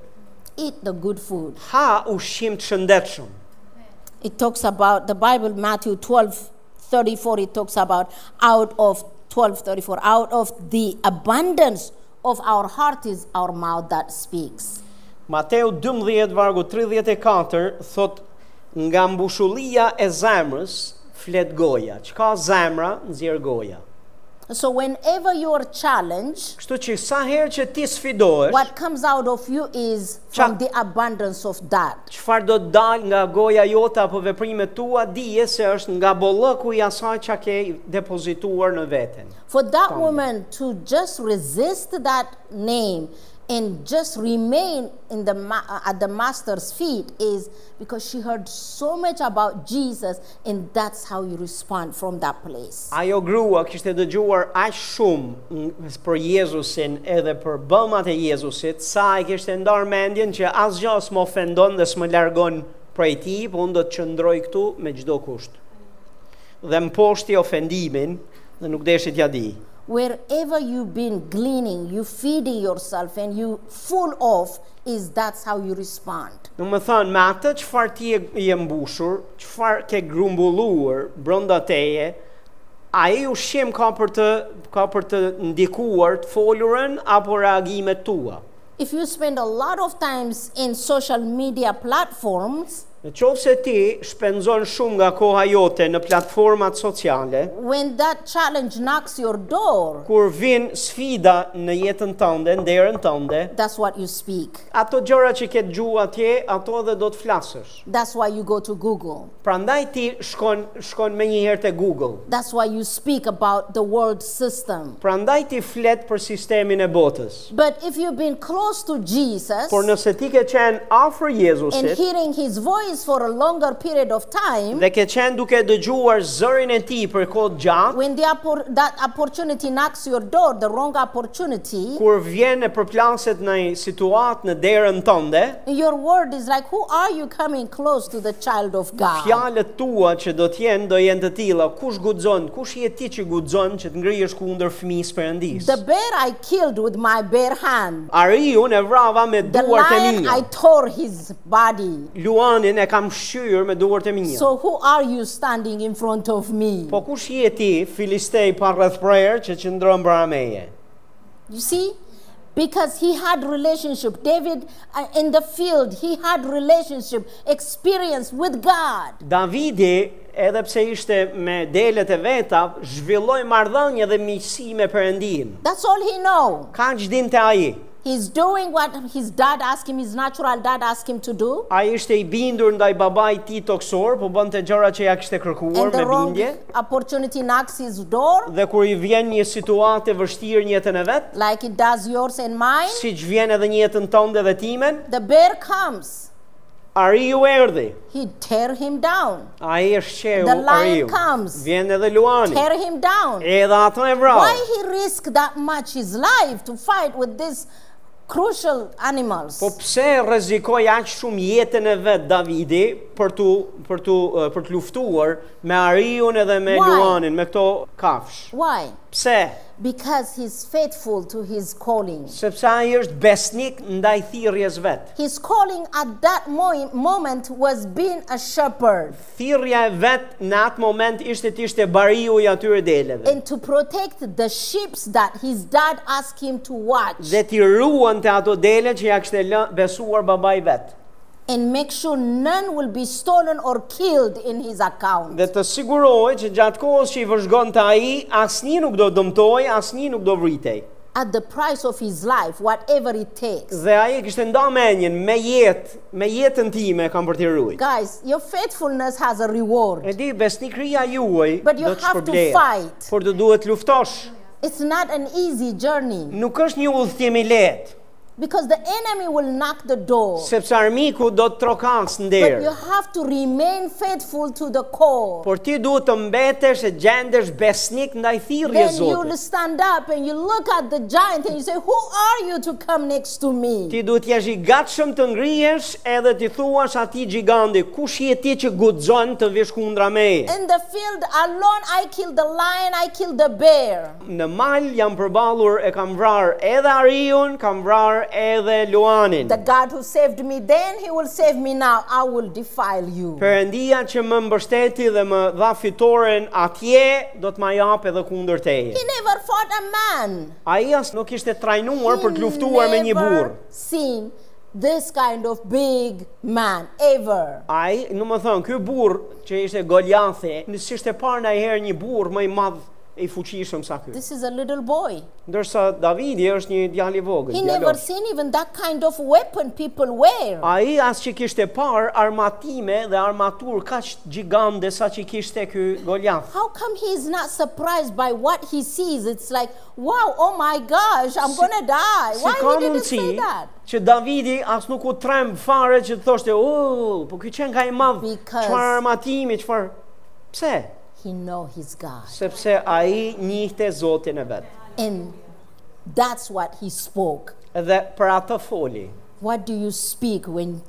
Speaker 2: Eat the good food.
Speaker 1: Ha ushqim të shëndetshëm.
Speaker 2: It talks about the Bible, Matthew 12 34, it talks about out of 12 34, out of the abundance of our heart is our mouth that speaks.
Speaker 1: Mateu 12 vargu 34 thot nga mbushullija e zemrës flet goja. Çka zemra nxjerr goja.
Speaker 2: So whenever you are challenged,
Speaker 1: Kështu që sa herë që ti sfidohesh,
Speaker 2: what comes out of you is from
Speaker 1: Cha-
Speaker 2: the abundance of that.
Speaker 1: çfarë do të dalë nga goja jote apo veprimet tua, dije se është nga bollëku i asaj çka ke depozituar në veten.
Speaker 2: For that woman to just resist that name and just remain in the ma- uh, at the master's feet is because she heard so much about Jesus and that's how you respond from that place.
Speaker 1: Ajo grua kishte dëgjuar aq shumë n- për Jezusin edhe për bëmat e Jezusit, sa e kishte ndarë mendjen që asgjë s'më ofendon dhe s'më largon prej ti, po unë do të qëndroj këtu me çdo kusht. Dhe më poshti ofendimin dhe nuk deshi t'ja di.
Speaker 2: Wherever you've been gleaning, you feeding yourself and you full off is that's how you respond.
Speaker 1: Nuk më thënë, me atë qëfar ti e, i e mbushur, qëfar ke grumbulluar brënda teje, a i ushqim ka për të, ka për të ndikuar të folurën apo reagimet tua?
Speaker 2: If you spend a lot of times in social media platforms,
Speaker 1: Në qovë se ti shpenzon shumë nga koha jote në platformat sociale,
Speaker 2: when that challenge knocks your door,
Speaker 1: kur vin sfida në jetën tënde, në derën tënde,
Speaker 2: that's what you speak.
Speaker 1: ato gjëra që ke dëgjuar atje, ato edhe do të flasësh.
Speaker 2: That's why you go to Google.
Speaker 1: Prandaj ti shkon shkon më një herë te Google.
Speaker 2: That's why you speak about the world system.
Speaker 1: Prandaj ti flet për sistemin e botës.
Speaker 2: But if you've been close to Jesus
Speaker 1: Por nëse ti ke qenë afër
Speaker 2: and
Speaker 1: Jezusit
Speaker 2: hearing his voice for a longer period of time,
Speaker 1: dhe ke qenë duke dëgjuar zërin e tij për kohë të gjatë,
Speaker 2: when the oppor- that opportunity knocks your door, the wrong opportunity,
Speaker 1: kur vjen e përplaset në një situatë në derën tënde,
Speaker 2: your word is like, Who are you coming close to the child of God?
Speaker 1: Fjalët tua që do të jenë do jenë të tilla. Kush guxon? Kush je ti që guxon që të ngrihesh kundër fëmisë Perëndis?
Speaker 2: The bear I killed with my bare hand,
Speaker 1: Ariun e vrava me
Speaker 2: the
Speaker 1: duart e
Speaker 2: lion
Speaker 1: mia.
Speaker 2: I tore his body.
Speaker 1: Luanin e kam shyer me duart e mia.
Speaker 2: So who are you standing in front of me?
Speaker 1: Po kush je ti, filistej pa rrethprerë që qëndron para meje?
Speaker 2: You see? Because he had relationship. David uh, in the field, he had relationship, experience with God.
Speaker 1: Davidi, edhe pse ishte me delet e veta, zhvilloi marrëdhënie dhe miqësi me Perëndin.
Speaker 2: That's all he know.
Speaker 1: Kaq dinte ai.
Speaker 2: He's doing what his dad asked him, his natural dad asked him to do.
Speaker 1: Ai ishte i bindur ndaj babait të tij toksor, po bënte gjëra që ja kishte kërkuar me
Speaker 2: And the wrong
Speaker 1: bindje.
Speaker 2: opportunity knocks his door,
Speaker 1: dhe kur i vjen një situatë e vështirë në jetën e vet,
Speaker 2: like it does yours and mine.
Speaker 1: siç vjen edhe në jetën tënde dhe timen,
Speaker 2: The bear comes,
Speaker 1: Ariu erdhi.
Speaker 2: he tear him down,
Speaker 1: Ai e sheu
Speaker 2: The lion
Speaker 1: Ariu.
Speaker 2: comes.
Speaker 1: Vjen edhe Luani.
Speaker 2: tear him down.
Speaker 1: Edhe atë e vrau.
Speaker 2: Why he risked that much his life to fight with these crucial animals?
Speaker 1: Po pse rrezikoi aq shumë jetën e vet Davidi për tu për tu eh, për të luftuar me Ariun edhe me
Speaker 2: Why?
Speaker 1: Luanin, me këto kafsh?
Speaker 2: Why?
Speaker 1: Pse?
Speaker 2: Because he's faithful to his calling.
Speaker 1: Sepse ai është besnik ndaj thirrjes vet.
Speaker 2: His calling at that mo- moment was being a shepherd
Speaker 1: Thirrja e vet në atë moment ishte të ishte bariu i atyre deleve.
Speaker 2: and to protect the sheep that his dad asked him to watch
Speaker 1: dhe ti ruan të ato dele që ja kështë lë besuar baba i vetë.
Speaker 2: and make sure none will be stolen or killed in his account.
Speaker 1: Dhe të sigurohet që gjatë kohës që i vëzhgon të aji, asni nuk do dëmtoj, asni nuk do vritej.
Speaker 2: At the price of his life, whatever it takes.
Speaker 1: Dhe aji kështë nda menjen, me jetë, me jetën time kam për t'i ruaj.
Speaker 2: Guys, your faithfulness has a reward.
Speaker 1: E di, besnikria juaj
Speaker 2: But
Speaker 1: do
Speaker 2: you
Speaker 1: të
Speaker 2: have to
Speaker 1: shpërblejet,
Speaker 2: fight.
Speaker 1: por të duhet luftosh.
Speaker 2: It's not an easy journey.
Speaker 1: Nuk është një udhëtim i lehtë.
Speaker 2: Because the enemy will knock the door.
Speaker 1: sepse armiku do të trokas në
Speaker 2: But you
Speaker 1: derë.
Speaker 2: have to remain faithful to the core.
Speaker 1: Por ti duhet të mbetesh e gjendesh besnik ndaj
Speaker 2: Then
Speaker 1: thirrjes
Speaker 2: you
Speaker 1: Zotit.
Speaker 2: stand up and you look at the giant and you say, Who are you to come next to me?
Speaker 1: Ti duhet jesh i gatshëm të ngrihesh edhe ti thuash atij giganti, kush je ti që guxon të vish kundra meje?
Speaker 2: In the field alone, I killed the lion, I killed the bear.
Speaker 1: Në mal jam përballur e kam vrarë edhe Ariun, kam vrarë edhe Luanin.
Speaker 2: The God who saved me then, he will save me now. I will defile you.
Speaker 1: Perëndia që më mbështeti dhe më dha fitoren atje, do të ma jap edhe kundër teje.
Speaker 2: He never fought a man.
Speaker 1: Ai as nuk ishte trajnuar për të luftuar me
Speaker 2: He
Speaker 1: një burr.
Speaker 2: never seen this kind of big man ever.
Speaker 1: Ai, në më thënë, ky burr që ishte Goliathi, nësë ishte parë në herë një burr më i madh e i fuqishëm sa ky.
Speaker 2: This is a little boy.
Speaker 1: Ndërsa Davidi është një djalë i vogël,
Speaker 2: He never
Speaker 1: djalosh.
Speaker 2: seen even that kind of weapon people wear.
Speaker 1: Ai as që kishte parë armatime dhe armatur kaq gjigande sa që kishte ky Goliath.
Speaker 2: How come he is not surprised by what he sees? It's like, wow, oh my gosh, I'm gonna die.
Speaker 1: Si ka
Speaker 2: Why he didn't
Speaker 1: mundësi
Speaker 2: say that?
Speaker 1: që Davidi as nuk u trem fare që të thoshte, "Oh, po ky qen ka i madh,
Speaker 2: Because-
Speaker 1: çfarë armatimi, çfarë?" Pse?
Speaker 2: He know his God.
Speaker 1: Sepse ai njihte Zotin e vet.
Speaker 2: And that's what he spoke.
Speaker 1: Dhe për atë foli.
Speaker 2: What do you speak when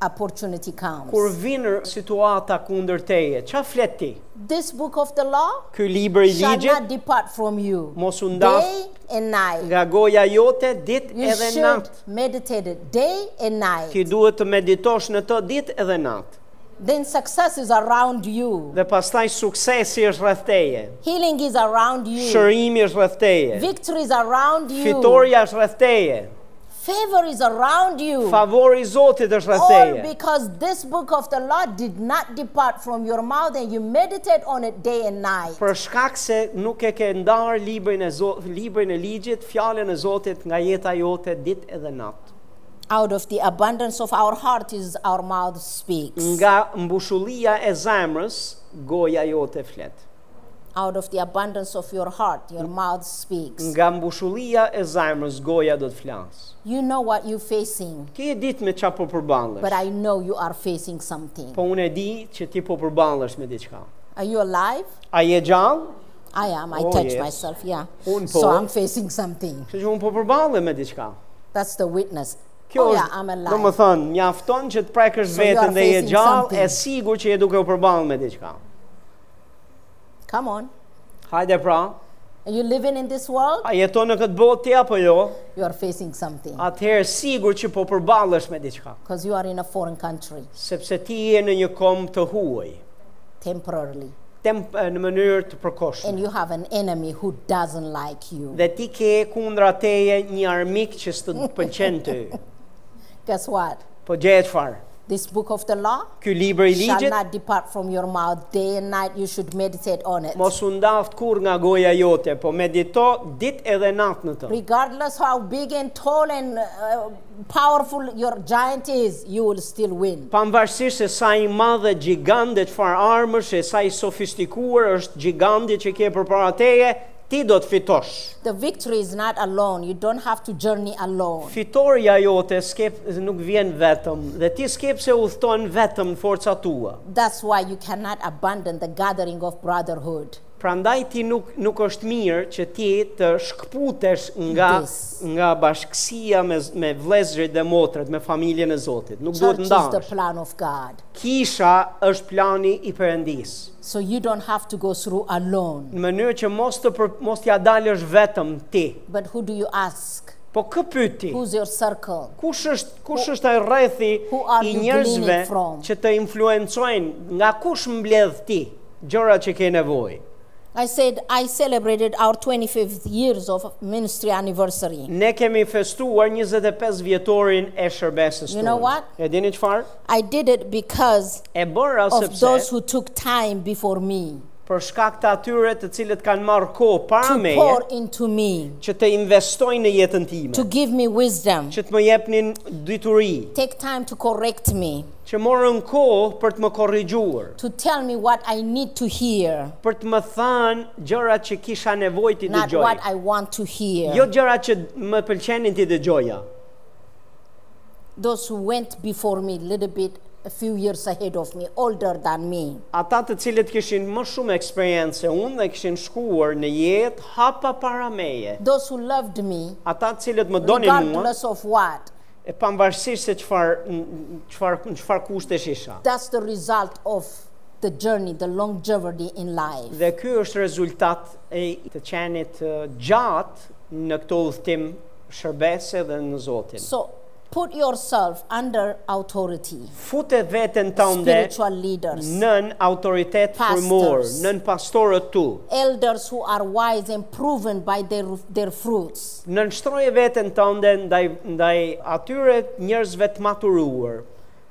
Speaker 2: opportunity comes?
Speaker 1: Kur vjen situata kundër teje, ç'a flet ti?
Speaker 2: This book of the law
Speaker 1: Ky libër i
Speaker 2: shall
Speaker 1: ligjit
Speaker 2: not depart from you
Speaker 1: mos u ndaf
Speaker 2: day and night.
Speaker 1: nga goja jote ditë
Speaker 2: You
Speaker 1: edhe
Speaker 2: should
Speaker 1: natë.
Speaker 2: meditate it day and
Speaker 1: Ti
Speaker 2: night.
Speaker 1: duhet të meditosh në të ditë edhe natë.
Speaker 2: Then success is around you.
Speaker 1: Dhe pastaj suksesi është rreth teje.
Speaker 2: Healing is around you.
Speaker 1: Shërimi është rreth teje.
Speaker 2: Victory is around you.
Speaker 1: Fitoria është rreth teje.
Speaker 2: Favor is around you.
Speaker 1: Favori i Zotit është rreth
Speaker 2: All
Speaker 1: teje.
Speaker 2: because this book of the law did not depart from your mouth and you meditate on it day and night.
Speaker 1: Për shkak se nuk e ke ndarë librin e Zot, librin e ligjit, fjalën e Zotit nga jeta jote ditë edhe natë.
Speaker 2: Out of the abundance of our heart is our mouth speaks.
Speaker 1: Nga mbushullija e zemrës, goja jote flet.
Speaker 2: Out of the abundance of your heart, your mouth speaks.
Speaker 1: Nga mbushullija e zemrës, goja do të flasë.
Speaker 2: You know what you're facing,
Speaker 1: Ti e ditë me çfarë po
Speaker 2: but
Speaker 1: përballesh.
Speaker 2: I know you are facing something.
Speaker 1: Po unë e di që ti po përballesh me diçka.
Speaker 2: Are you alive?
Speaker 1: A je gjallë?
Speaker 2: I am. I
Speaker 1: Oh,
Speaker 2: touch
Speaker 1: yes.
Speaker 2: myself, yeah.
Speaker 1: Un
Speaker 2: So
Speaker 1: po.
Speaker 2: I'm facing something.
Speaker 1: Kështu që unë po përballem me diçka.
Speaker 2: That's the witness.
Speaker 1: Kjo
Speaker 2: oh, yeah,
Speaker 1: është,
Speaker 2: I'm
Speaker 1: do më
Speaker 2: alive.
Speaker 1: thënë, mjafton që të prekësh
Speaker 2: you are
Speaker 1: veten dhe je
Speaker 2: facing
Speaker 1: gjallë,
Speaker 2: something.
Speaker 1: e sigur që je duke u përballë me diçka.
Speaker 2: Come on.
Speaker 1: Hajde pra,
Speaker 2: Are you living in this world?
Speaker 1: a jeton në këtë botë ti apo jo?
Speaker 2: You are facing something
Speaker 1: Atëherë sigur që po përballesh me diçka,
Speaker 2: because you are in a foreign country
Speaker 1: sepse ti je në një kom të huaj,
Speaker 2: temporarily
Speaker 1: tem në mënyrë të përkohshme.
Speaker 2: and you have an enemy who doesn't like you.
Speaker 1: Dhe ti ke kundra teje një armik që s'të pëlqen ty.
Speaker 2: Guess what?
Speaker 1: Po gjehet çfarë?
Speaker 2: This book of the law
Speaker 1: Ky libër i
Speaker 2: shall
Speaker 1: ligjit
Speaker 2: not depart from your mouth day and night. You should meditate on it.
Speaker 1: mos u ndaft kur nga goja jote, po medito ditë edhe natë në të.
Speaker 2: Regardless how big and tall and uh, powerful your giant is, you will still win.
Speaker 1: Pavarësisht se sa i madh dhe gjigant dhe çfarë armësh, e sa i sofistikuar është giganti që ke përpara teje, ti do të fitosh.
Speaker 2: The victory is not alone. You don't have to journey alone.
Speaker 1: Fitoria jote skep nuk vjen vetëm dhe ti skep se udhton vetëm në forca tua.
Speaker 2: That's why you cannot abandon the gathering of brotherhood.
Speaker 1: Prandaj ti nuk nuk është mirë që ti të shkputesh nga
Speaker 2: Des.
Speaker 1: nga bashkësia me z- me vëllezërit dhe motrat, me familjen e Zotit. Nuk
Speaker 2: Church
Speaker 1: duhet
Speaker 2: is the
Speaker 1: ndarësh.
Speaker 2: plan of God.
Speaker 1: Kisha është plani i Perëndisë.
Speaker 2: So you don't have to go through alone.
Speaker 1: Në mënyrë që mos të për, mos t'ja dalësh vetëm ti.
Speaker 2: But who do you ask?
Speaker 1: Po kë pyeti?
Speaker 2: Who's your circle?
Speaker 1: Kush është kush është ai rrethi
Speaker 2: Who are
Speaker 1: i
Speaker 2: you
Speaker 1: njerëzve
Speaker 2: gleaning from?
Speaker 1: që të influencojnë? Nga kush mbledh ti gjërat që ke nevojë?
Speaker 2: I said I celebrated our 25th years of ministry anniversary.
Speaker 1: Ne kemi festuar 25 vjetorin e shërbesës
Speaker 2: You know
Speaker 1: tonë.
Speaker 2: what?
Speaker 1: E dini çfarë?
Speaker 2: I did it because
Speaker 1: E bëra
Speaker 2: of those
Speaker 1: sepse
Speaker 2: who took time before me
Speaker 1: për shkak të atyre të cilët kanë marrë kohë para
Speaker 2: to
Speaker 1: meje
Speaker 2: pour into me,
Speaker 1: që të investojnë në jetën
Speaker 2: to
Speaker 1: time,
Speaker 2: give me wisdom,
Speaker 1: që të më jepnin dituri,
Speaker 2: take time to correct me,
Speaker 1: që morën kohë për të më korrigjuar,
Speaker 2: to tell me what I need to hear,
Speaker 1: për të më thënë gjërat që kisha nevojë ti
Speaker 2: not
Speaker 1: dëgjoj.
Speaker 2: what I want to hear.
Speaker 1: Jo gjëra që më pëlqenin ti dëgjoja.
Speaker 2: those who went before me a little bit, a few years ahead of me, older than me.
Speaker 1: Ata të cilët kishin më shumë eksperiencë se unë dhe kishin shkuar në jetë hapa para meje.
Speaker 2: Those who loved me,
Speaker 1: Ata të cilët më donin mua,
Speaker 2: regardless of what.
Speaker 1: e pavarësisht se çfarë n- çfarë në çfarë kushtesh isha.
Speaker 2: That's the result of the journey, the longevity in life.
Speaker 1: Dhe ky është rezultat e të qenit eh, gjatë në këtë udhtim shërbese dhe në Zotin.
Speaker 2: So put yourself under authority,
Speaker 1: Fute veten tënde
Speaker 2: spiritual leaders,
Speaker 1: nën autoritet
Speaker 2: Pastors.
Speaker 1: frymor, nën pastorët tu.
Speaker 2: elders who are wise and proven by their, their fruits.
Speaker 1: Nën shtroje veten tënde ndaj ndaj atyre njerëzve të maturuar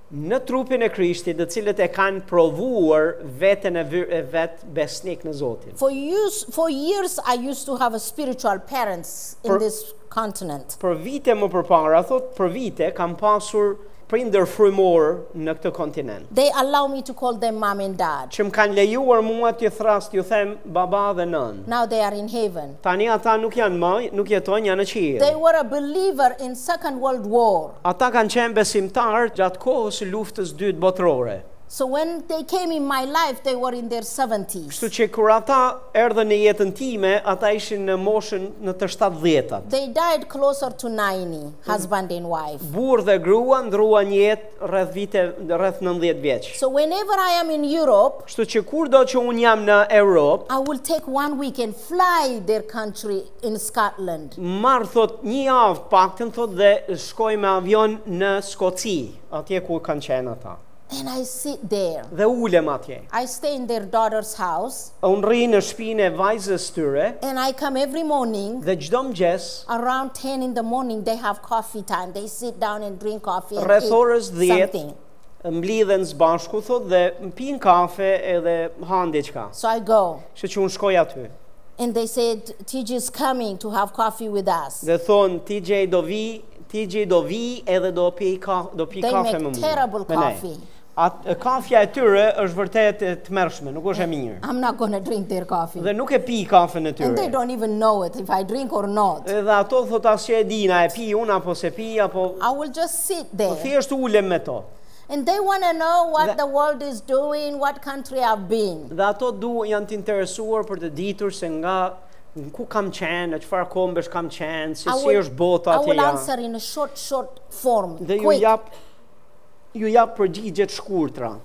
Speaker 1: në trupin e Krishtit, të cilët e kanë provuar veten e, vy- e vet besnik në Zotin.
Speaker 2: For, years, for years, I used to have a spiritual parents in
Speaker 1: For-
Speaker 2: this continent.
Speaker 1: Për vite më përpara, thot, për vite kam pasur prindër frymor në këtë kontinent
Speaker 2: They allow me to call them mom and dad.
Speaker 1: që më kanë lejuar mua t'ju thras t'ju them baba dhe nën.
Speaker 2: Now they are in heaven.
Speaker 1: Tani ata nuk janë më, nuk jetojnë janë në
Speaker 2: They
Speaker 1: qiell.
Speaker 2: were a believer in Second World War.
Speaker 1: Ata kanë qenë besimtarë gjatë kohës së luftës dytë botërore.
Speaker 2: So when they came in my life, they were in their 70s.
Speaker 1: Kështu që kur ata erdhën në jetën time, ata ishin në moshën në të 70-tat.
Speaker 2: They died closer to 90, husband and wife.
Speaker 1: Burr dhe grua ndruan jetë rreth vite rreth 90 vjeç.
Speaker 2: So whenever I am in Europe,
Speaker 1: Kështu që kur do që unë jam në Europë,
Speaker 2: I will take one week and fly their country in Scotland.
Speaker 1: marr thot një javë paktën thot dhe shkoj me avion në Skoci, atje ku kanë qenë ata.
Speaker 2: And I sit there.
Speaker 1: Dhe ulem atje.
Speaker 2: I stay in their daughter's house
Speaker 1: Unë rri në shtëpinë e vajzës tyre
Speaker 2: and I come every morning.
Speaker 1: dhe çdo mëngjes
Speaker 2: Around 10 in the morning, they have coffee time. They sit down and drink coffee and
Speaker 1: Rreth orës 10.
Speaker 2: eat something.
Speaker 1: mblidhen së bashku thot dhe pin kafe edhe han diçka.
Speaker 2: So I go.
Speaker 1: Kështu që unë shkoj aty.
Speaker 2: And they said, TJ is coming to have coffee with us.
Speaker 1: Dhe thonë TJ do vi, TJ do vi edhe do pi ka, do pi
Speaker 2: They
Speaker 1: kafe
Speaker 2: make
Speaker 1: me mua.
Speaker 2: terrible
Speaker 1: me ne.
Speaker 2: coffee.
Speaker 1: At, kafja e tyre është vërtet e tmerrshme, nuk është e mirë.
Speaker 2: I'm not going to drink their coffee.
Speaker 1: Dhe nuk e pi kafen e tyre.
Speaker 2: And they don't even know it if I drink or not.
Speaker 1: Edhe ato thot asje e dina, e pi unë apo se pi, apo
Speaker 2: I will just sit there.
Speaker 1: thjesht ulem me to.
Speaker 2: And they want to
Speaker 1: That-
Speaker 2: know what the world is doing, what country I've been.
Speaker 1: Dhe ato du janë të interesuar për të ditur se nga n- ku kam qenë, në çfarë kombësh kam qenë, si
Speaker 2: I
Speaker 1: si është bota
Speaker 2: I
Speaker 1: atje
Speaker 2: will
Speaker 1: ja.
Speaker 2: answer in a short, short form.
Speaker 1: Dhe ju
Speaker 2: quick.
Speaker 1: jap ju jap përgjigje të shkurtra.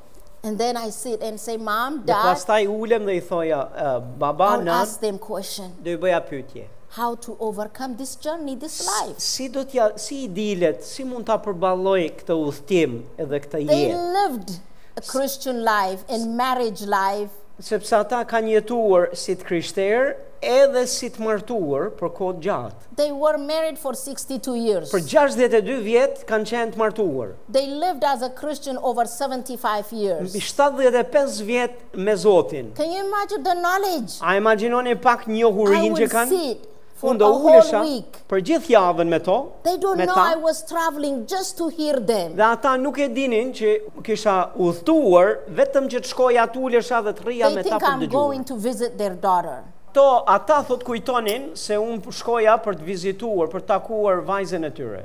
Speaker 2: And then I sit and say, Mom,
Speaker 1: Dhe
Speaker 2: Dad,
Speaker 1: pastaj ulem dhe i thoja, "E, baba
Speaker 2: I'll
Speaker 1: na
Speaker 2: ask them question
Speaker 1: do i bëja pyetje.
Speaker 2: how to overcome this journey, this life.
Speaker 1: Si do t'ja si i dilet, si mund ta përballoj këtë udhtim edhe këtë
Speaker 2: They
Speaker 1: jetë?
Speaker 2: lived a Christian life and marriage life.
Speaker 1: sepse ata kanë jetuar si të krishterë edhe si të martuar për kohë të gjatë.
Speaker 2: They were married for 62 years.
Speaker 1: Për 62 vjet kanë qenë të martuar.
Speaker 2: They lived as a Christian over 75
Speaker 1: Mbi
Speaker 2: years.
Speaker 1: 75 vjet me Zotin.
Speaker 2: Can you imagine the knowledge?
Speaker 1: A imagjinoni pak
Speaker 2: I
Speaker 1: njohurinë
Speaker 2: will
Speaker 1: që kanë?
Speaker 2: sit for
Speaker 1: Unë
Speaker 2: a
Speaker 1: do ulesha
Speaker 2: whole week.
Speaker 1: për gjithë javën me to,
Speaker 2: They don't
Speaker 1: me
Speaker 2: know
Speaker 1: ta,
Speaker 2: I was traveling just to hear them.
Speaker 1: dhe ata nuk e dinin që kisha udhëtuar vetëm që të shkoja atë ulesha dhe të rria
Speaker 2: They
Speaker 1: me ta
Speaker 2: think
Speaker 1: për
Speaker 2: I'm
Speaker 1: dëgjuar.
Speaker 2: going to visit their daughter.
Speaker 1: To ata thot kujtonin se unë shkoja për të vizituar, për të takuar vajzën e tyre.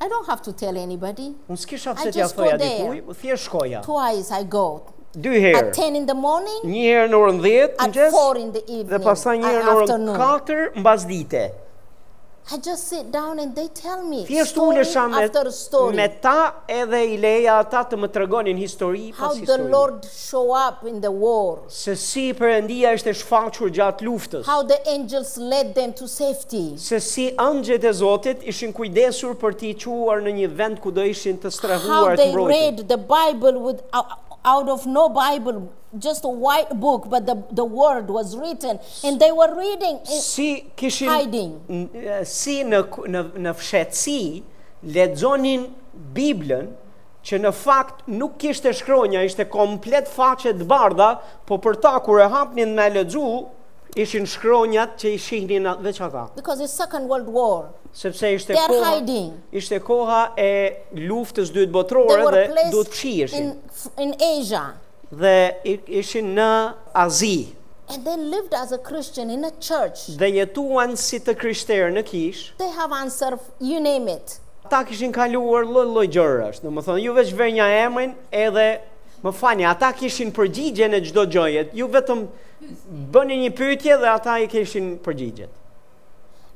Speaker 2: I don't have to tell anybody.
Speaker 1: Unë s'kisha
Speaker 2: I
Speaker 1: pse t'ja
Speaker 2: just go
Speaker 1: thoja
Speaker 2: there.
Speaker 1: dikuj, thjesht shkoja.
Speaker 2: Twice I go.
Speaker 1: Dy herë.
Speaker 2: At 10 in the morning,
Speaker 1: Një herë në orën 10
Speaker 2: at
Speaker 1: mëngjes
Speaker 2: 4 in the
Speaker 1: dhe
Speaker 2: evening,
Speaker 1: pastaj një herë në
Speaker 2: a-
Speaker 1: orën
Speaker 2: afternoon.
Speaker 1: 4 mbas dite.
Speaker 2: I just sit down and they tell me
Speaker 1: Thjesht
Speaker 2: story
Speaker 1: ulesha me
Speaker 2: after story.
Speaker 1: me ta edhe i leja ata të më tregonin histori
Speaker 2: how
Speaker 1: pas
Speaker 2: the
Speaker 1: histori.
Speaker 2: Lord show up in the war,
Speaker 1: Se si Perëndia është e shfaqur gjatë luftës.
Speaker 2: how the angels led them to safety,
Speaker 1: Se si angjët e Zotit ishin kujdesur për t'i quar në një vend ku do ishin të
Speaker 2: how
Speaker 1: strehuar të
Speaker 2: they
Speaker 1: mbrojtur.
Speaker 2: read the Bible with out of no Bible, just a white book, but the, the word was written, and they were reading. it.
Speaker 1: si kishin
Speaker 2: Hiding.
Speaker 1: n- e, si në ku- në në fshetësi lexonin Biblën që në fakt nuk kishte shkronja, ishte komplet faqe të bardha, po për ta kur e hapnin me lexu, ishin shkronjat që i shihnin a- veç ata,
Speaker 2: Because it's Second World War,
Speaker 1: sepse ishte
Speaker 2: they are
Speaker 1: koha
Speaker 2: hiding.
Speaker 1: ishte koha e luftës dytë
Speaker 2: They
Speaker 1: botërore
Speaker 2: were
Speaker 1: dhe duhet
Speaker 2: placed
Speaker 1: fshiheshin
Speaker 2: in, in Asia,
Speaker 1: dhe i- ishin në Azi
Speaker 2: and they lived as a Christian in a church.
Speaker 1: dhe jetuan si të krishterë në kishë
Speaker 2: They have answer, you name it.
Speaker 1: Ata kishin kaluar lloj-lloj gjërash, domethënë ju veç vënja emrin edhe më fani, ata kishin përgjigjen e çdo gjëje. Ju vetëm bëni një pyetje dhe ata i kishin përgjigjet.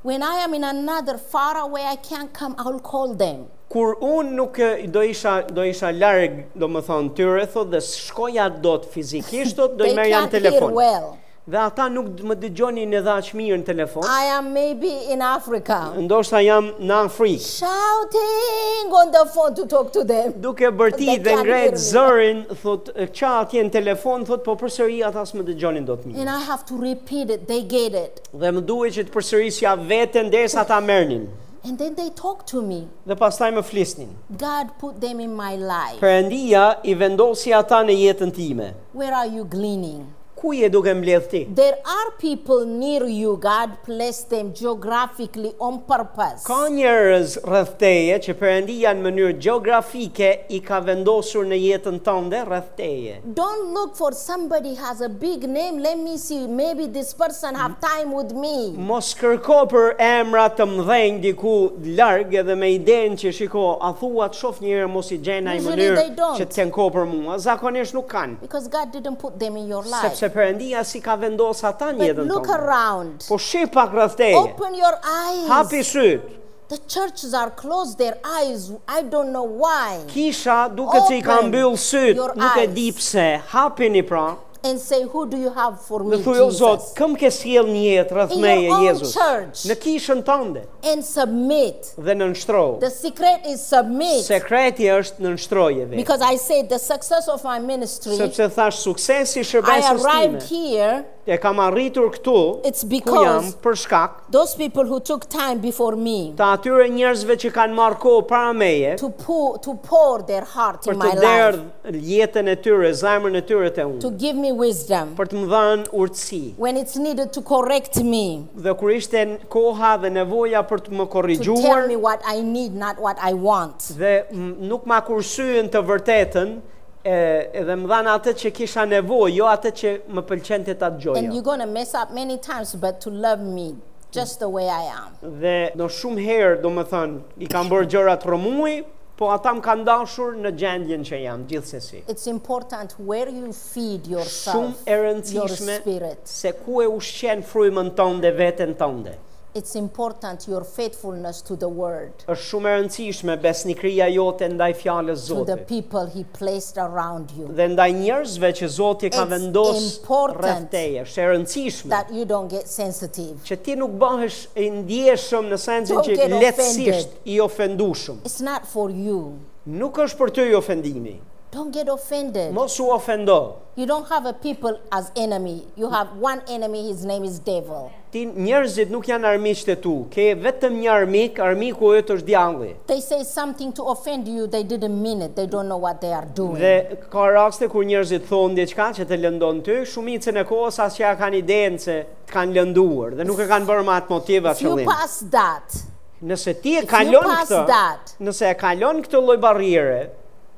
Speaker 2: When I am in another far away, I can't come, I'll call them.
Speaker 1: Kur unë nuk e- do isha do isha larg, domethënë tyre thot dhe shkoja dot fizikisht thot do i
Speaker 2: They
Speaker 1: merrja në
Speaker 2: can't hear
Speaker 1: telefon.
Speaker 2: well.
Speaker 1: Dhe ata nuk d- më dëgjonin edhe aq mirë në telefon.
Speaker 2: I am maybe in Africa.
Speaker 1: Ndoshta jam në Afrikë.
Speaker 2: Shouting on the phone to talk to them.
Speaker 1: Duke bërti
Speaker 2: Dhe
Speaker 1: dhe
Speaker 2: kanë
Speaker 1: ngrejt
Speaker 2: mirë.
Speaker 1: zërin, thot, qa atje në telefon, thot, po përsëri ata s'më dëgjonin do të mirë.
Speaker 2: And I have to repeat it. They get it.
Speaker 1: Dhe më duhet që të përsërisja veten derisa ta merrnin.
Speaker 2: And then they talk to me.
Speaker 1: Dhe pastaj më flisnin.
Speaker 2: God put them in my life.
Speaker 1: Perëndia i vendosi ata në jetën time.
Speaker 2: Where are you gleaning?
Speaker 1: Ku je duke mbledh ti?
Speaker 2: There are people near you. God placed them geographically on purpose.
Speaker 1: Ka njerëz rreth teje që Perëndia në mënyrë gjeografike i ka vendosur në jetën tënde rreth teje.
Speaker 2: Don't look for somebody has a big name. Let me see. Maybe this person have time with me.
Speaker 1: Mos kërko për emra të mëdhenj diku larg edhe me idenë që shiko, a thua të shoh një herë mos i gjej në ai
Speaker 2: Usually
Speaker 1: mënyrë
Speaker 2: they don't.
Speaker 1: që të kenë kohë për mua. Zakonisht nuk kanë,
Speaker 2: Because God didn't put them in your life.
Speaker 1: sepse Perëndia si ka vendosur ata në
Speaker 2: But
Speaker 1: jetën
Speaker 2: look
Speaker 1: tonë.
Speaker 2: around.
Speaker 1: Po shih pak rreth teje.
Speaker 2: Open your eyes.
Speaker 1: Hapi syt.
Speaker 2: The churches are closed their eyes. I don't know why.
Speaker 1: Kisha duket se i ka
Speaker 2: Open
Speaker 1: mbyll syt,
Speaker 2: your
Speaker 1: nuk e
Speaker 2: eyes.
Speaker 1: di pse. Hapini pra.
Speaker 2: And say, Who do you have for me?
Speaker 1: Dhe thuj o
Speaker 2: Jesus?"
Speaker 1: Zot, këm ke sjell një jetë rreth
Speaker 2: In
Speaker 1: meje
Speaker 2: your own
Speaker 1: Jezus.
Speaker 2: church.
Speaker 1: Në kishën tënde
Speaker 2: And submit.
Speaker 1: dhe në nështroj.
Speaker 2: The secret is submit.
Speaker 1: Sekreti është në nështroje vetë.
Speaker 2: because I said the success of my ministry,
Speaker 1: sepse thash suksesi i
Speaker 2: I
Speaker 1: shërbesës time.
Speaker 2: arrived here.
Speaker 1: E kam arritur këtu
Speaker 2: It's
Speaker 1: ku jam
Speaker 2: because
Speaker 1: për shkak
Speaker 2: those people who took time before me
Speaker 1: të atyre njerëzve që kanë marrë kohë para meje
Speaker 2: to pour, to pour their heart
Speaker 1: për
Speaker 2: in
Speaker 1: të
Speaker 2: my life,
Speaker 1: derdh jetën e tyre, zemrën e tyre te
Speaker 2: to
Speaker 1: unë,
Speaker 2: give me wisdom
Speaker 1: për të më dhënë urtësi.
Speaker 2: when it's needed to correct me,
Speaker 1: Dhe kur ishte n- koha dhe nevoja për të më
Speaker 2: to tell
Speaker 1: korrigjuar
Speaker 2: me what I need, not what I want.
Speaker 1: dhe m- nuk ma kursyen të vërtetën, e, edhe më dhanë atë që kisha nevojë, jo atë që më pëlqente ta jo. dëgjoja.
Speaker 2: And you're going to mess up many times, but to love me just the way I am.
Speaker 1: dhe në shumë herë, do më thënë, i kam bërë gjërat rëmuj, po ata më kanë dashur në gjendjen që jam, gjithsesi.
Speaker 2: It's important where you feed
Speaker 1: Shumë
Speaker 2: yourself,
Speaker 1: e
Speaker 2: your
Speaker 1: rëndësishme
Speaker 2: spirit.
Speaker 1: se ku e ushqen frymën tënde veten tënde.
Speaker 2: It's important your faithfulness to the word,
Speaker 1: Është shumë e rëndësishme besnikëria jote ndaj fjalës
Speaker 2: to the
Speaker 1: Zotit
Speaker 2: people He placed around you,
Speaker 1: dhe ndaj njerëzve që Zoti ka
Speaker 2: It's
Speaker 1: vendos
Speaker 2: important
Speaker 1: rreth teje. Është e rëndësishme
Speaker 2: that you don't get sensitive.
Speaker 1: që ti nuk bëhesh i ndjeshëm në sensin
Speaker 2: Don't
Speaker 1: që
Speaker 2: get
Speaker 1: lehtësisht i ofendushëm.
Speaker 2: It's not for you.
Speaker 1: Nuk është për ty ofendimi.
Speaker 2: Don't get offended.
Speaker 1: Mos u ofendo.
Speaker 2: You don't have a people as enemy. You have one enemy. His name is devil.
Speaker 1: Ti njerëzit nuk janë armiqët e tu. Ke vetëm një armik, armiku yt është djalli.
Speaker 2: They say something to offend you. They didn't mean it. They don't know what they are doing.
Speaker 1: Dhe ka raste kur njerëzit thonë diçka që të lëndon ty, shumicën e kohës as që ja kanë idenë se të kanë lënduar dhe nuk e kanë bërë me atë motiv
Speaker 2: if
Speaker 1: atë
Speaker 2: you
Speaker 1: qëllim.
Speaker 2: pass that,
Speaker 1: Nëse ti e
Speaker 2: if you
Speaker 1: kalon
Speaker 2: pass
Speaker 1: këtë,
Speaker 2: that,
Speaker 1: nëse e kalon këtë lloj barriere,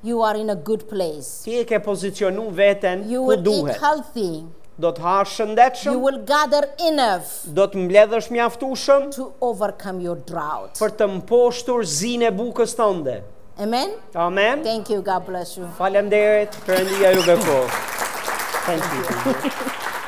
Speaker 2: you are in a good place.
Speaker 1: ti e ke pozicionu veten
Speaker 2: You
Speaker 1: ku
Speaker 2: will eat
Speaker 1: duhet.
Speaker 2: healthy.
Speaker 1: Do të hash
Speaker 2: You
Speaker 1: shëndetshëm,
Speaker 2: will gather enough
Speaker 1: do të mbledhësh mjaftueshëm
Speaker 2: to overcome your drought.
Speaker 1: për të mposhtur zinë e bukës tënde.
Speaker 2: Amen.
Speaker 1: Amen.
Speaker 2: Thank you. God bless you.
Speaker 1: Falemderit, Perëndia ju befrost. Thank you.